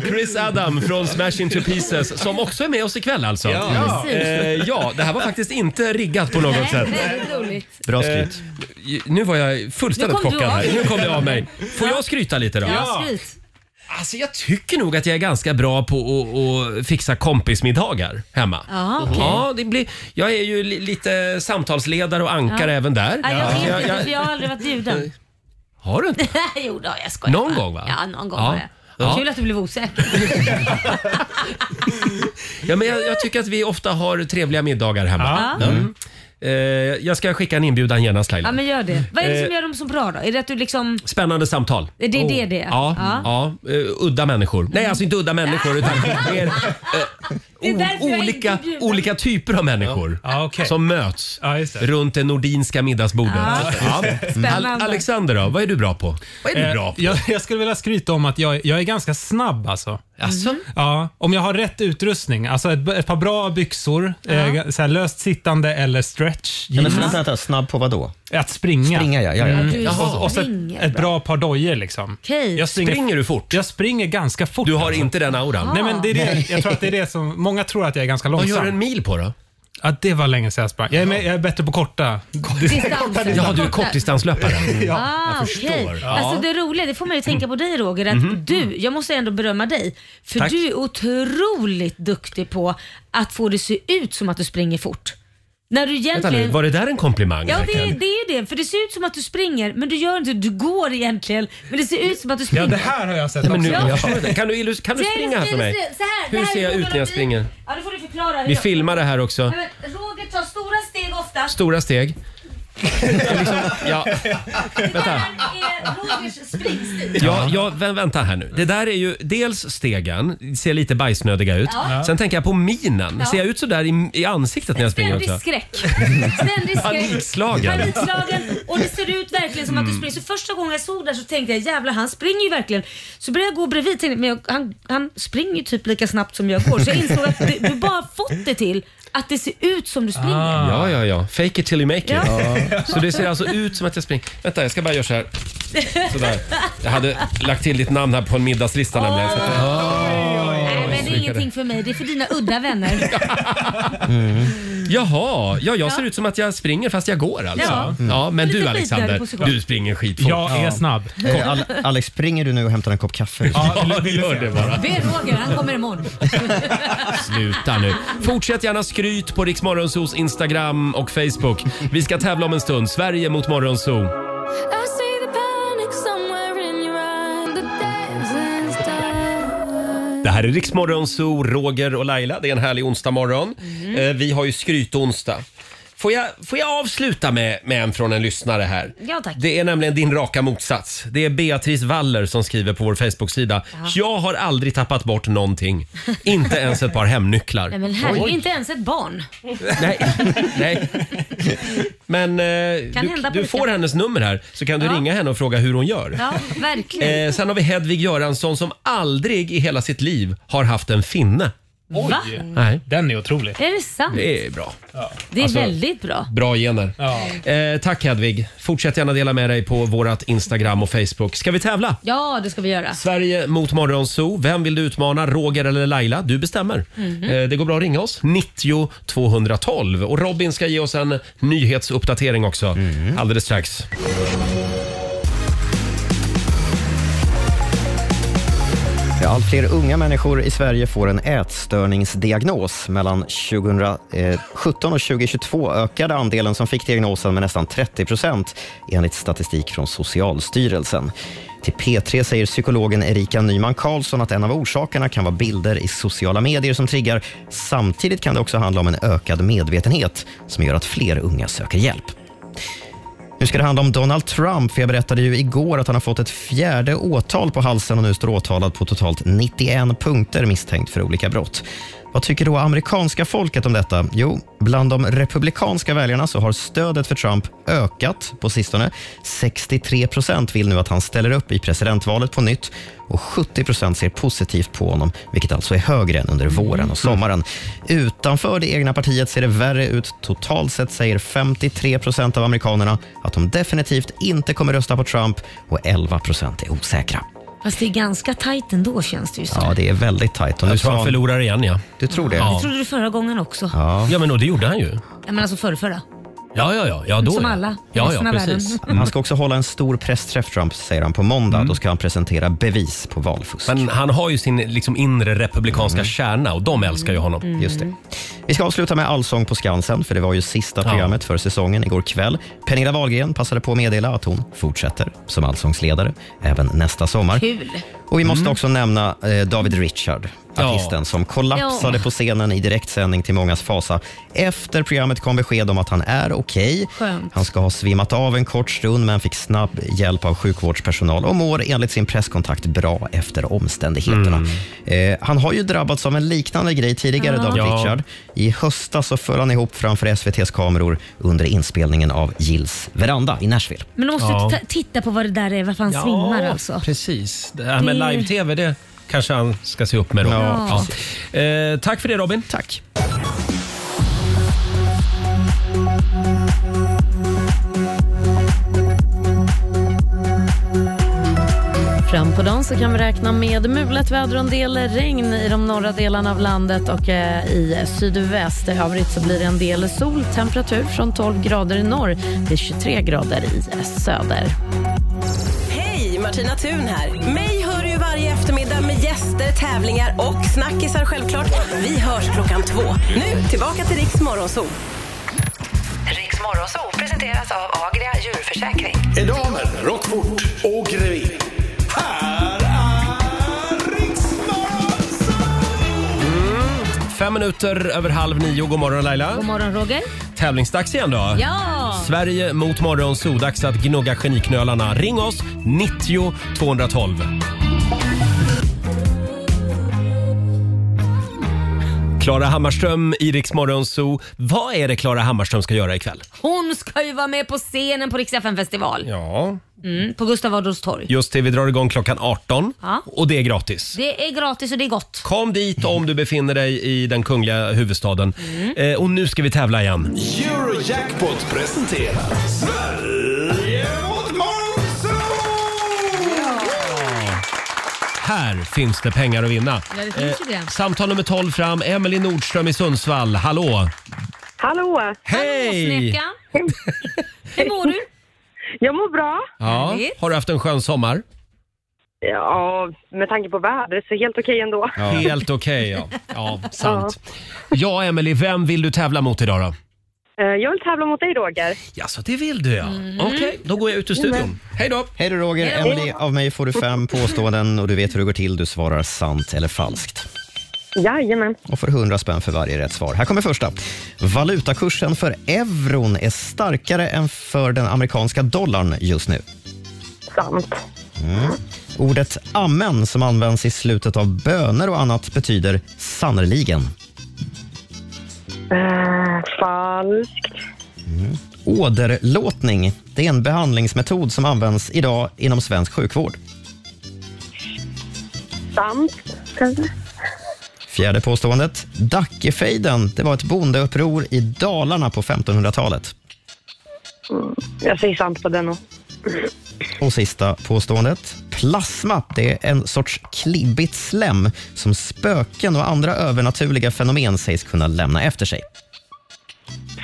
Chris Adam från Smash Into Pieces som också är med oss ikväll alltså. Ja. Eh, ja det här var faktiskt inte riggat på något sätt. Väldigt roligt. Bra skryt. nu var jag fullständigt Nu kom du chockad av här. dig. Nu kom jag av mig. Får jag skryta lite då? Ja, skryt. Alltså jag tycker nog att jag är ganska bra på att, att fixa kompismiddagar hemma. Ja, okej. ja, det blir, jag är ju li, lite samtalsledare och ankare Ja. även där. Ja, jag vet Jag- inte, jag- för jag har aldrig varit bjuden. Har du inte? jo då, jag skojar. Någon bara. gång va? Ja, någon gång Ja. har jag. Ja. Kul att du blev osäker. Ja, men jag, jag tycker att vi ofta har trevliga middagar hemma. Ja. Mm. Eh, jag ska skicka en inbjudan genast Laila. Ja men gör det. Vad är det som Eh, gör dem så bra då? Är det att du liksom... Spännande samtal. Det är det det är. Ja, Ja. ja. eh, udda människor. Nej, alltså inte udda människor utan mer, eh, o- därför jag olika, inte bjuder. olika typer av människor som möts runt det nordinska middagsbordet. Ja. Spännande. Al- Alexander då, vad är du bra på? Vad är du Eh, bra på? Jag, jag skulle vilja skryta om att jag, jag är ganska snabb alltså. Mm. Jaså? Ja, om jag har rätt utrustning, alltså ett, ett par bra byxor, eh, så här löst sittande eller stretch Ja, men jeans. vänta, vänta, snabb på vad då? Att springa. Mm. Springa, ja, ja, ja, okej. Du Och, och så springer ett, ett bra. bra par dojor liksom. Okej. Springer du fort? Jag springer ganska fort. alltså. Du har inte den auran? Nej, men det är Nej. det, jag tror att det är det som... Många tror att jag är ganska Vad långsam. gör du en mil på då? Ja, det var länge sedan jag sprang. Jag är, med, jag är bättre på korta. Distanser. Ja, du är kortdistanslöpare. Mm. Ja. Ah, Jag okej. förstår. Ja. Alltså det roliga, det får man ju tänka på dig Roger, att Mhm. du, jag måste ändå berömma dig. För Tack. du är otroligt duktig på att få det se ut som att du springer fort. När du Vänta nu, egentligen... var det där en komplimang? Ja, det, verkligen? det är ju det. För det ser ut som att du springer, men du gör inte Du går egentligen, men det ser ut som att du springer. det här har jag sett Nej, men nu- också. jag förstår det. Kan du illus- kan du Så här, springa här för mig? så här, Hur det här ser jag är ut när jag Roger- springer? Ja, då får du förklara. hur Vi jag- filmar det här också. Nej, men Roger tar stora steg ofta. Stora steg. liksom, ja. Vänta. Eh, Rogers springstil. Ja, ja, vä- vänta här nu. Det där är ju dels stegen, ser lite bajsnödiga ut. Ja. Sen tänker jag på minen. Ja. Ser jag ut sådär i, i ansiktet när jag springer Ständig också? skräck. Ständig skräck. Panikslagen. Mm. Panikslagen. Och det ser ut verkligen som att du springer. Så första gången jag såg där så tänkte jag jävlar han springer ju verkligen. Så började jag gå bredvid tänkte, men jag, han, han springer ju typ lika snabbt som jag går. Så jag insåg att du, du bara fått det till att det ser ut som du springer. Ja, ja, ja. Fake it till you make it. Ja. Så det ser alltså ut som att jag springer. Vänta, jag ska bara göra så här. Sådär. Jag hade lagt till ditt namn här på en middagslista nämligen. Så att- Ah. Nej men det är ingenting för mig, det är för dina udda vänner. Jaha, ja, jag ser ut som att jag springer fast jag går alltså. Ja. Ja, Mm. men Lite du skidare Alexander, position. du springer skitfort. Jag är snabb. Eh, Al- Alex, springer du nu och hämtar en kopp kaffe? Ja, gör det bara. Be Roger, han kommer imorgon. Sluta nu. Fortsätt gärna skryt på Riksmorgonsos Instagram och Facebook. Vi ska tävla om en stund. Sverige mot Morgonzoo. I see the panic somewhere in your eye. The dancing's done. Det här är Riksmorgonzoo, Roger och Laila. Det är en härlig onsdagmorgon. Mhm. Eh, Vi har ju skrytonsdag. Får jag, får jag avsluta med, med en från en lyssnare här? Ja tack. Det är nämligen din raka motsats. Det är Beatrice Waller som skriver på vår Facebook-sida. Jag har aldrig tappat bort någonting. Inte ens ett par hemnycklar. Nej men herregud, Oj. inte ens ett barn. Nej, nej. Men eh, Kan hända du, du pojkar. får hennes nummer här så kan du Ja. ringa henne och fråga hur hon gör. Ja, verkligen. Eh, sen har vi Hedvig Göransson som aldrig i hela sitt liv har haft en finne. Va? Nej. Den är otrolig. Är det sant? Det är bra. Det är Alltså- väldigt bra. Bra gener. Ja. Eh, tack Hedvig. Fortsätt gärna dela med dig på vårat Instagram och Facebook. Ska vi tävla? Ja, det ska vi göra. Sverige mot Morgonzoo. Vem vill du utmana? Roger eller Laila? Du bestämmer. Mhm. Eh, Det går bra att ringa oss. 90 212. Och Robin ska ge oss en nyhetsuppdatering också alldeles strax. Ja, allt fler unga människor i Sverige får en ätstörningsdiagnos. Mellan 2017 och 2022 ökade andelen som fick diagnosen med nästan 30 procent enligt statistik från Socialstyrelsen. Till P3 säger psykologen Erika Nyman Karlsson att en av orsakerna kan vara bilder i sociala medier som triggar. Samtidigt kan det också handla om en ökad medvetenhet som gör att fler unga söker hjälp. Nu ska det handla om Donald Trump, för jag berättade ju igår att han har fått ett fjärde åtal på halsen och nu står åtalad på totalt 91 punkter misstänkt för olika brott. Vad tycker då amerikanska folket om detta? Jo, bland de republikanska väljarna så har stödet för Trump ökat på sistone. 63 procent vill nu att han ställer upp i presidentvalet på nytt och 70 procent ser positivt på honom, vilket alltså är högre än under våren och sommaren. Utanför det egna partiet ser det värre ut. Totalt sett säger 53 procent av amerikanerna att de definitivt inte kommer rösta på Trump och 11 procent är osäkra. Fast det är ganska tajt ändå känns det ju som. Ja, det är väldigt tajt. Och Jag tror han förlorar igen, ja. Du tror det? Det trodde du förra gången också. Ja. Ja. ja, men och det gjorde han ju. Men alltså förra, förra. Ja, ja, ja. ja då Som ja. alla. Ja, Resten ja, av precis. Mm. världen. Han ska också hålla en stor pressträff, Trump, säger han, på måndag. Då ska han presentera bevis på valfusk. Men han har ju sin liksom, inre republikanska kärna och de älskar ju honom. Just det. Vi ska avsluta med Allsång på Skansen, för det var ju sista programmet för säsongen igår kväll. Pernilla Wahlgren passade på att meddela att hon fortsätter som allsångsledare även nästa sommar. Kul. Mm. Och vi måste också nämna eh, David Richard. artisten som kollapsade Ja. på scenen i direktsändning till mångas fasa. Efter programmet kom besked om att han är okej. Skönt. Han ska ha svimmat av en kort stund men fick snabb hjälp av sjukvårdspersonal och mår enligt sin presskontakt bra efter omständigheterna. Eh, han har ju drabbats av en liknande grej tidigare, Ja. David Ja. Richard. I höstas så föll han ihop framför SVTs kameror under inspelningen av Gills veranda i Nashville. Men då måste du ta- titta på vad det där är, varför han svimmar alltså. precis. Det här med Det- live-tv, det kanske han ska se upp med då. Ja. Ja. Eh, tack för det Robin. Tack. Fram på dagen så kan vi räkna med mulet väder och en del regn i de norra delarna av landet och eh, i sydväst. I övrigt så blir det en del sol. Temperatur från 12 grader i norr till 23 grader i söder. Hej, Martina Thun här. Mig hör du ju varje eftermiddag med gäster, tävlingar och snackisar självklart. Vi hörs klockan två. Nu tillbaka till Riks Morgonzoo. Riks Morgonzoo presenteras av Agria djurförsäkring. Edamer, Rockfort och Grevin. Fem minuter över halv nio. God morgon Laila. God morgon Roger. Tävlingsdags igen då. Ja! Sverige mot morgonzoo. Dags att gnugga geniknölarna. Ring oss, 90 212. Klara Hammarström i Rix Morgonzoo. Vad är det Klara Hammarström ska göra ikväll? Hon ska ju vara med på scenen på Rix FM festival. Ja. Mm, på Gustav Adolfs torg. Just det, vi drar igång klockan 18 Ja. och det är gratis. Det är gratis och det är gott. Kom dit om du befinner dig i den kungliga huvudstaden. Mm. Eh, och nu ska vi tävla igen. Eurojackpot presenterar Sverige mot Monzo! Här finns det pengar att vinna. Eh, Ja, det finns ju det. samtal nummer 12 fram. Emelie Nordström i Sundsvall. Hallå! Hallå! Hej! Snäcka! Hur mår du? Jag mår bra. Ja, har du haft en skön sommar? Ja, med tanke på vädret så helt okej ändå. Helt okej, ja. ja. Sant. Ja, Emelie, vem vill du tävla mot idag då? Eh, Jag vill tävla mot dig Roger. Ja, så det vill du ja. Mm. Okej, då går jag ut ur studion. Hej då! Hej då Roger. Hej då. Emily, av mig får du fem påståenden och du vet hur det går till. Du svarar sant eller falskt. Jajamän. och får 100 spänn för varje rätt svar. Här kommer första. Valutakursen för euron är starkare än för den amerikanska dollarn just nu. Sant. Mm. Ordet amen som används i slutet av böner och annat betyder sannerligen. Mm. Eh, falskt. Åderlåtning det är en behandlingsmetod som används idag inom svensk sjukvård. Sant. kanske? Fjärde påståendet. Dackefejden det var ett bondeuppror i Dalarna på 1500-talet. Mm, Jag säger sant på den också. Och sista påståendet. Plasma det är en sorts klibbigt slem som spöken och andra övernaturliga fenomen sägs kunna lämna efter sig.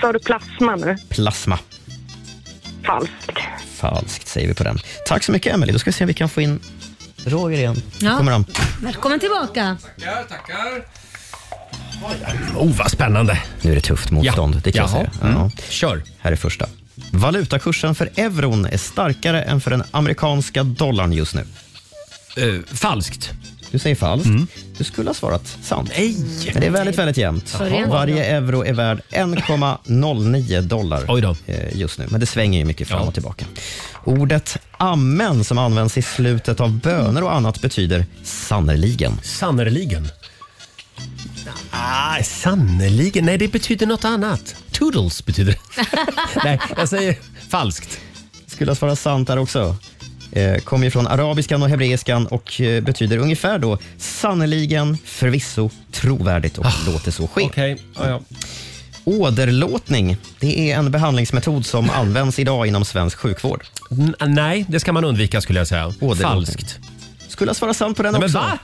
Sa du plasma nu? Plasma. Falskt. Falskt säger vi på den. Tack så mycket, Emelie. Då ska vi se om vi kan få in Roger igen. Ja. Ja. kommer han. Välkommen tillbaka. Tackar, tackar. Oh, vad spännande. Nu är det tufft motstånd. Det kan jag Jaha. säga. Mm. Kör. Här är första. Valutakursen för euron är starkare än för den amerikanska dollarn just nu. Eh, falskt. Du säger falskt. Mm. Du skulle ha svarat sant. Nej. Men det är väldigt, väldigt jämnt. Sorry. Jaha. Varje euro är värd 1,09 dollar eh, just nu. Men det svänger ju mycket fram och tillbaka. Ordet amen som används i slutet av böner och annat betyder sannerligen. Sannerligen. Ah, sannerligen. Nej, det betyder något annat. Toodles betyder det. Nej, jag säger falskt. skulle ha svarat sant där också. Eh, Kommer ju från arabiskan och hebreiskan och eh, betyder ungefär då sannerligen, förvisso, trovärdigt Ah, och låter så ske. Åderlåtning, det är en behandlingsmetod som används idag inom svensk sjukvård. Ah. nej, det ska man undvika skulle jag säga. Falskt. Skulle ha svarat sant på den Nej, men också. va?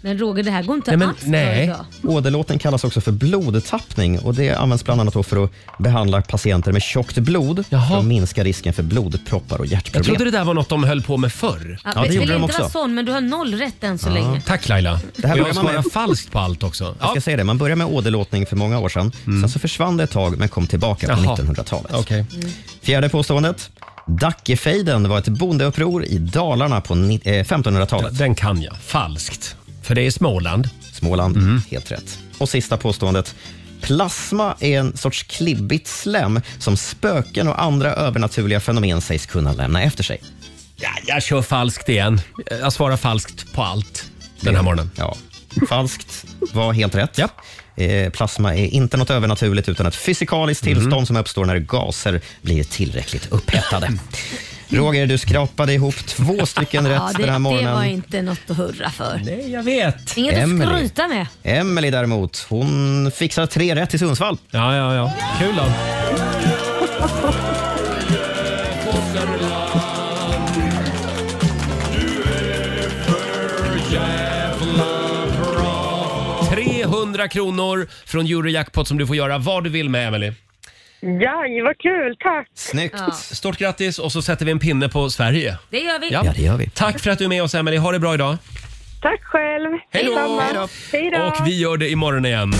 Men Roger, det här går inte alls bra idag. Åderlåtning kallas också för blodtappning och det används bland annat då för att behandla patienter med tjockt blod för att minska risken för blodproppar och hjärtproblem. Jag trodde det där var något de höll på med förr. Ja, vi vill inte vara sån, men du har noll rätt än så länge. Tack Laila. Det här Och jag börjar man svarar med. falskt på allt också. Mm. Jag ska säga det, man började med åderlåtning för många år sedan. Sen så försvann det ett tag men kom tillbaka på Jaha. 1900-talet. Mm. Fjärde påståendet. Dackefejden var ett bondeuppror i Dalarna på ni- eh, 1500-talet. Den kan jag. Falskt. För det är Småland. Mm. Småland. Helt rätt. Och sista påståendet. Plasma är en sorts klibbigt slem som spöken och andra övernaturliga fenomen sägs kunna lämna efter sig. Ja, jag kör falskt igen. Jag svarar falskt på allt den här morgonen. Ja. Falskt var helt rätt. Eh, Plasma är inte något övernaturligt utan ett fysikaliskt Mm. tillstånd som uppstår när gaser blir tillräckligt upphettade. Roger, du skrapade ihop två stycken Ja, rätt det, den här det var morgonen. inte något att hurra för. Nej, jag vet. Inget Emelie. att skryta med. Emelie däremot, hon fixar tre rätt i Sundsvall. Ja, ja, ja. Kul av bra. 300 kronor från Eurojackpot som du får göra vad du vill med, Emily. Jaj, vad kul. Tack. Snyggt. Ja. Stort grattis och så sätter vi en pinne på Sverige. Det gör vi. gör vi. Tack för att du är med oss, Emily. Ha det bra idag. Tack själv. Hej då. Detsamma. Hej då. Hej då. Och vi gör det imorgon igen.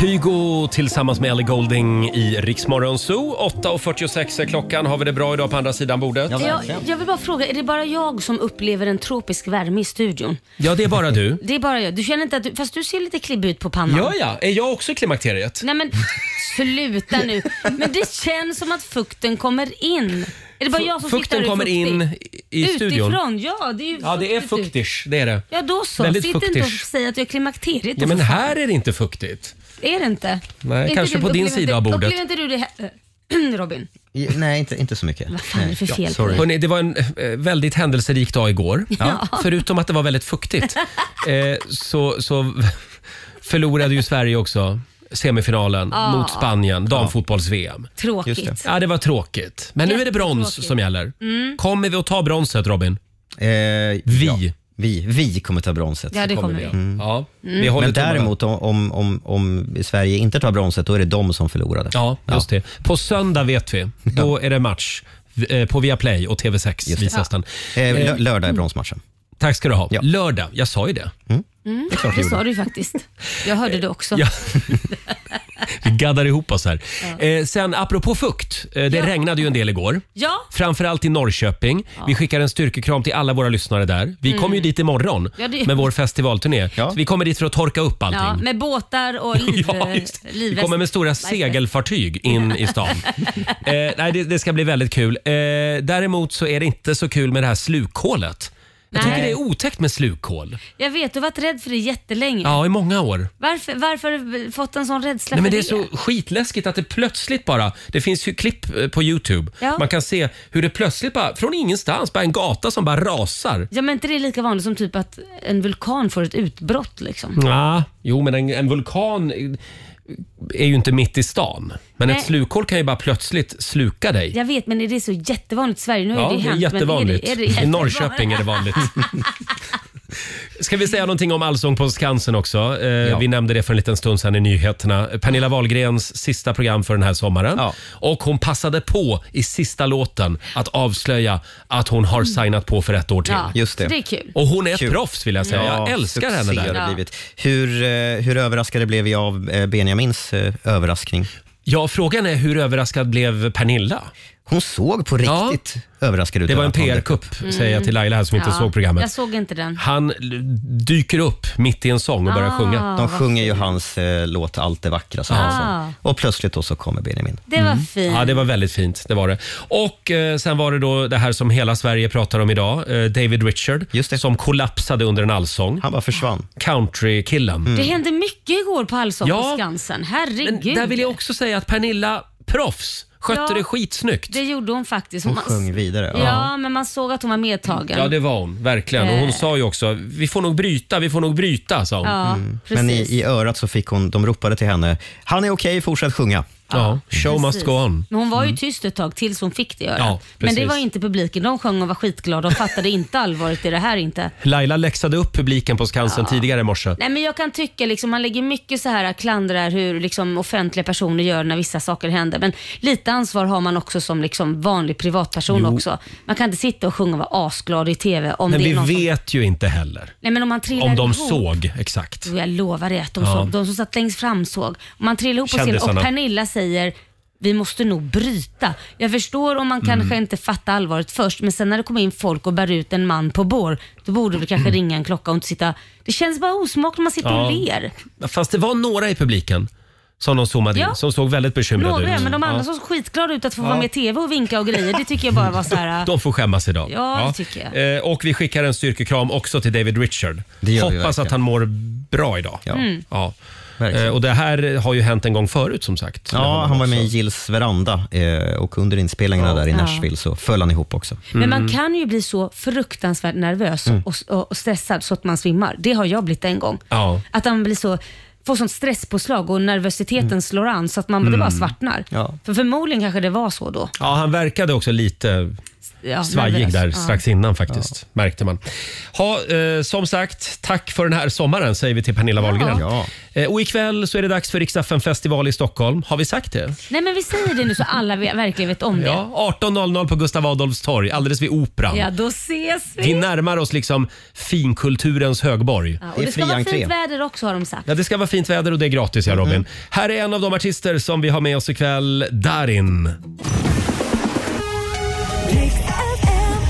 Kygo tillsammans med Ellie Golding i Riksmorgon Zoo. 8.46 är klockan. Har vi det bra idag på andra sidan bordet? Jag, jag vill bara fråga, är det bara jag som upplever en tropisk värme i studion? Ja, det är bara du. Det är bara jag. Du känner inte att du, fast du ser lite klibbig ut på pannan. Ja, ja. Är jag också i klimakteriet? Nej men sluta nu. Men det känns som att fukten kommer in. Är det bara jag som Fukten tycker att kommer det är fuktigt? in i- i studion. Utifrån, ja. Det är ju Ja, det är fuktigt ut. fuktish. Det är det. Ja då så. Väldigt Sitt inte och fuktish. säg att jag är klimakteriet. då, Ja, men för fan. här är det inte fuktigt. Är det inte? Nej, inte kanske du- på din upplever sida inte- av bordet. Upplever inte du det här, Robin? I- Nej, inte, inte så mycket. Vad fan är det för fel på dig? Hörrni, det var en eh, väldigt händelserik dag igår. Ja. Förutom att det var väldigt fuktigt eh, så, så förlorade ju Sverige också semifinalen Ja. mot Spanien, damfotbolls-VM. Tråkigt. Just det. Ja, det var tråkigt. Men nu är det brons Jättetråkigt. som gäller. Mm. Kommer vi att ta bronset, Robin? Eh, vi. vi. Vi kommer ta bronset. Ja, det kommer vi. Mm. Ja, Mm. vi håller Men tummarna. däremot om, om, om, om Sverige inte tar bronset, då är det de som förlorade. Ja, just det. På söndag vet vi. Då är det match eh, på Viaplay och TV6 det. visas Ja. den. Eh, lö- lördag är bronsmatchen. Tack ska du ha. Lördag, jag sa ju det. Mm, klart det du sa gjorde. du faktiskt. Jag hörde det också. Ja. Vi gaddar ihop oss här. Eh, sen apropå fukt, eh, det regnade ju en del igår. Ja. Framförallt i Norrköping. Vi skickar en styrkekram till alla våra lyssnare där. Vi Mm. kommer ju dit imorgon Ja, det- med vår festivalturné. Så vi kommer dit för att torka upp allting. Ja, med båtar och liv, Ja, just det. livväst- Vi kommer med stora segelfartyg in i stan. eh, nej, det, det ska bli väldigt kul. Eh, däremot så är det inte så kul med det här slukhålet. Jag Nej. tycker det är otäckt med slukhål. Jag vet, du har varit rädd för det jättelänge. Ja, i många år. Varför, varför har du fått en sån rädsla Nej, för men det är så skitläskigt att det plötsligt bara... Det finns ju klipp eh, på Youtube. Ja. Man kan se hur det plötsligt bara, från ingenstans, bara en gata som bara rasar. Ja men inte det är lika vanligt som typ att en vulkan får ett utbrott liksom. Ja, jo, men en, en vulkan eh, är ju inte mitt i stan. Men Nej. ett slukhål kan ju bara plötsligt sluka dig. Jag vet men är det så jättevanligt i Sverige? Nu har Ja, ju det det är hänt. men jättevanligt. är det- är det I jättevanligt? Norrköping är det vanligt. Ska vi säga någonting om Allsång på Skansen också? Eh, Vi nämnde det för en liten stund sedan i nyheterna. Pernilla Wahlgrens sista program för den här sommaren. Och hon passade på i sista låten att avslöja att hon har signat på för ett år till. Mm. Ja, Just det. det är kul. Och hon är ett Kul. proffs vill jag säga. jag Ja, älskar henne succé där. har det blivit. Hur, eh, hur överraskade blev vi av eh, Benjamins eh, överraskning? Ja, frågan är hur överraskad blev Pernilla? Hon såg på riktigt överraskad ut. Det var över en att han dök PR-kupp upp. säger jag till Laila här som inte Mm. Ja, såg programmet. Jag såg inte Mm. den. Han l- dyker upp mitt i en sång och börjar Ah, sjunga. De vad sjunger ju hans eh, låt Allt det vackra som han Ah. Och plötsligt då så kommer Benjamin. Det var fint. Mm. Ja, det var väldigt fint. Det var det. Och eh, sen var det då det här som hela Sverige pratar om idag. Eh, David Richard som kollapsade under en allsång. Han bara försvann. Mm. Countrykillen. Det hände mycket igår på Allsång Ja. på Skansen. Herregud. Men där vill jag också säga att Pernilla, proffs, skötte Ja. det skitsnyggt. Det gjorde hon faktiskt. Hon man- sjöng vidare, Ja. ja. men man såg att hon var medtagen. Ja, det var hon. Verkligen. Och hon Eh. sa ju också, vi får nog bryta, vi får nog bryta, sa hon. Ja, precis. Mm. Men i, i örat så fick hon, de ropade till henne, han är okej, fortsätt sjunga. Ja, show Precis. Men hon var ju tyst ett tag tills hon fick det göra. Mm. Ja, men det precis. var inte publiken. De sjöng och var skitglada och fattade inte allvaret i det här inte. Laila läxade upp publiken på Skansen tidigare i morse. Nej men jag kan tycka liksom, man lägger mycket så här klandrar hur liksom, offentliga personer gör när vissa saker händer. Men lite ansvar har man också som liksom, vanlig privatperson Jo. också. Man kan inte sitta och sjunga och vara asglad i TV om Men det är vi någon som... vet ju inte heller Nej men om man trillar om de ihop. såg exakt. Jo, jag lovar dig att de Ja. såg. De som satt längst fram såg. Om man trillar ihop på scenen och Kändisarna. Pernilla säger vi måste nog bryta. Jag förstår om man Mm. kanske inte fattar allvaret först, men sen när det kommer in folk och bär ut en man på bår, då borde vi kanske Mm. ringa en klocka och inte sitta... Det känns bara osmakligt när man sitter och ler. Fast det var några i publiken som de zoomade Ja. in, som såg väldigt bekymrade Några, ut. men de andra Ja. såg skitglada ut att få Ja. vara med i TV och vinka och grejer. Det tycker jag bara var så här... De får skämmas idag. Ja, det tycker Eh, och vi skickar en styrkekram också till David Richard. vi Hoppas verkligen. att han mår bra idag. Ja. Mm. Ja. Eh, och det här har ju hänt en gång förut som sagt. med Ja, honom han var med i också. Gills veranda eh, och under inspelningarna där i Ja. Nashville så föll han ihop också. Men Mm. man kan ju bli så fruktansvärt nervös Mm. och, och, och stressad så att man svimmar. Det har jag blivit en gång. Ja. Att man blir så, får sånt stresspåslag och nervositeten slår an så att man det Mm. bara svartnar. Ja. För förmodligen kanske det var så då. Ja, han verkade också lite Ja, svajig nervös. där Ja. strax innan faktiskt, märkte man. Ha, eh, som sagt, tack för den här sommaren säger vi till Pernilla Wahlgren. Eh, och ikväll så är det dags för Riksdagen festival i Stockholm. Har vi sagt det? Nej men vi säger det nu så alla ve- verkligen vet om det. Ja, Ja, 18.00 på Gustav Adolfs torg, alldeles vid Operan. då ses vi. Vi närmar oss liksom finkulturens högborg. Ja, och det ska vara fint väder också har de sagt. Ja, det ska vara fint väder och det är gratis, ja Robin. Här är en av de artister som vi har med oss ikväll, Darin.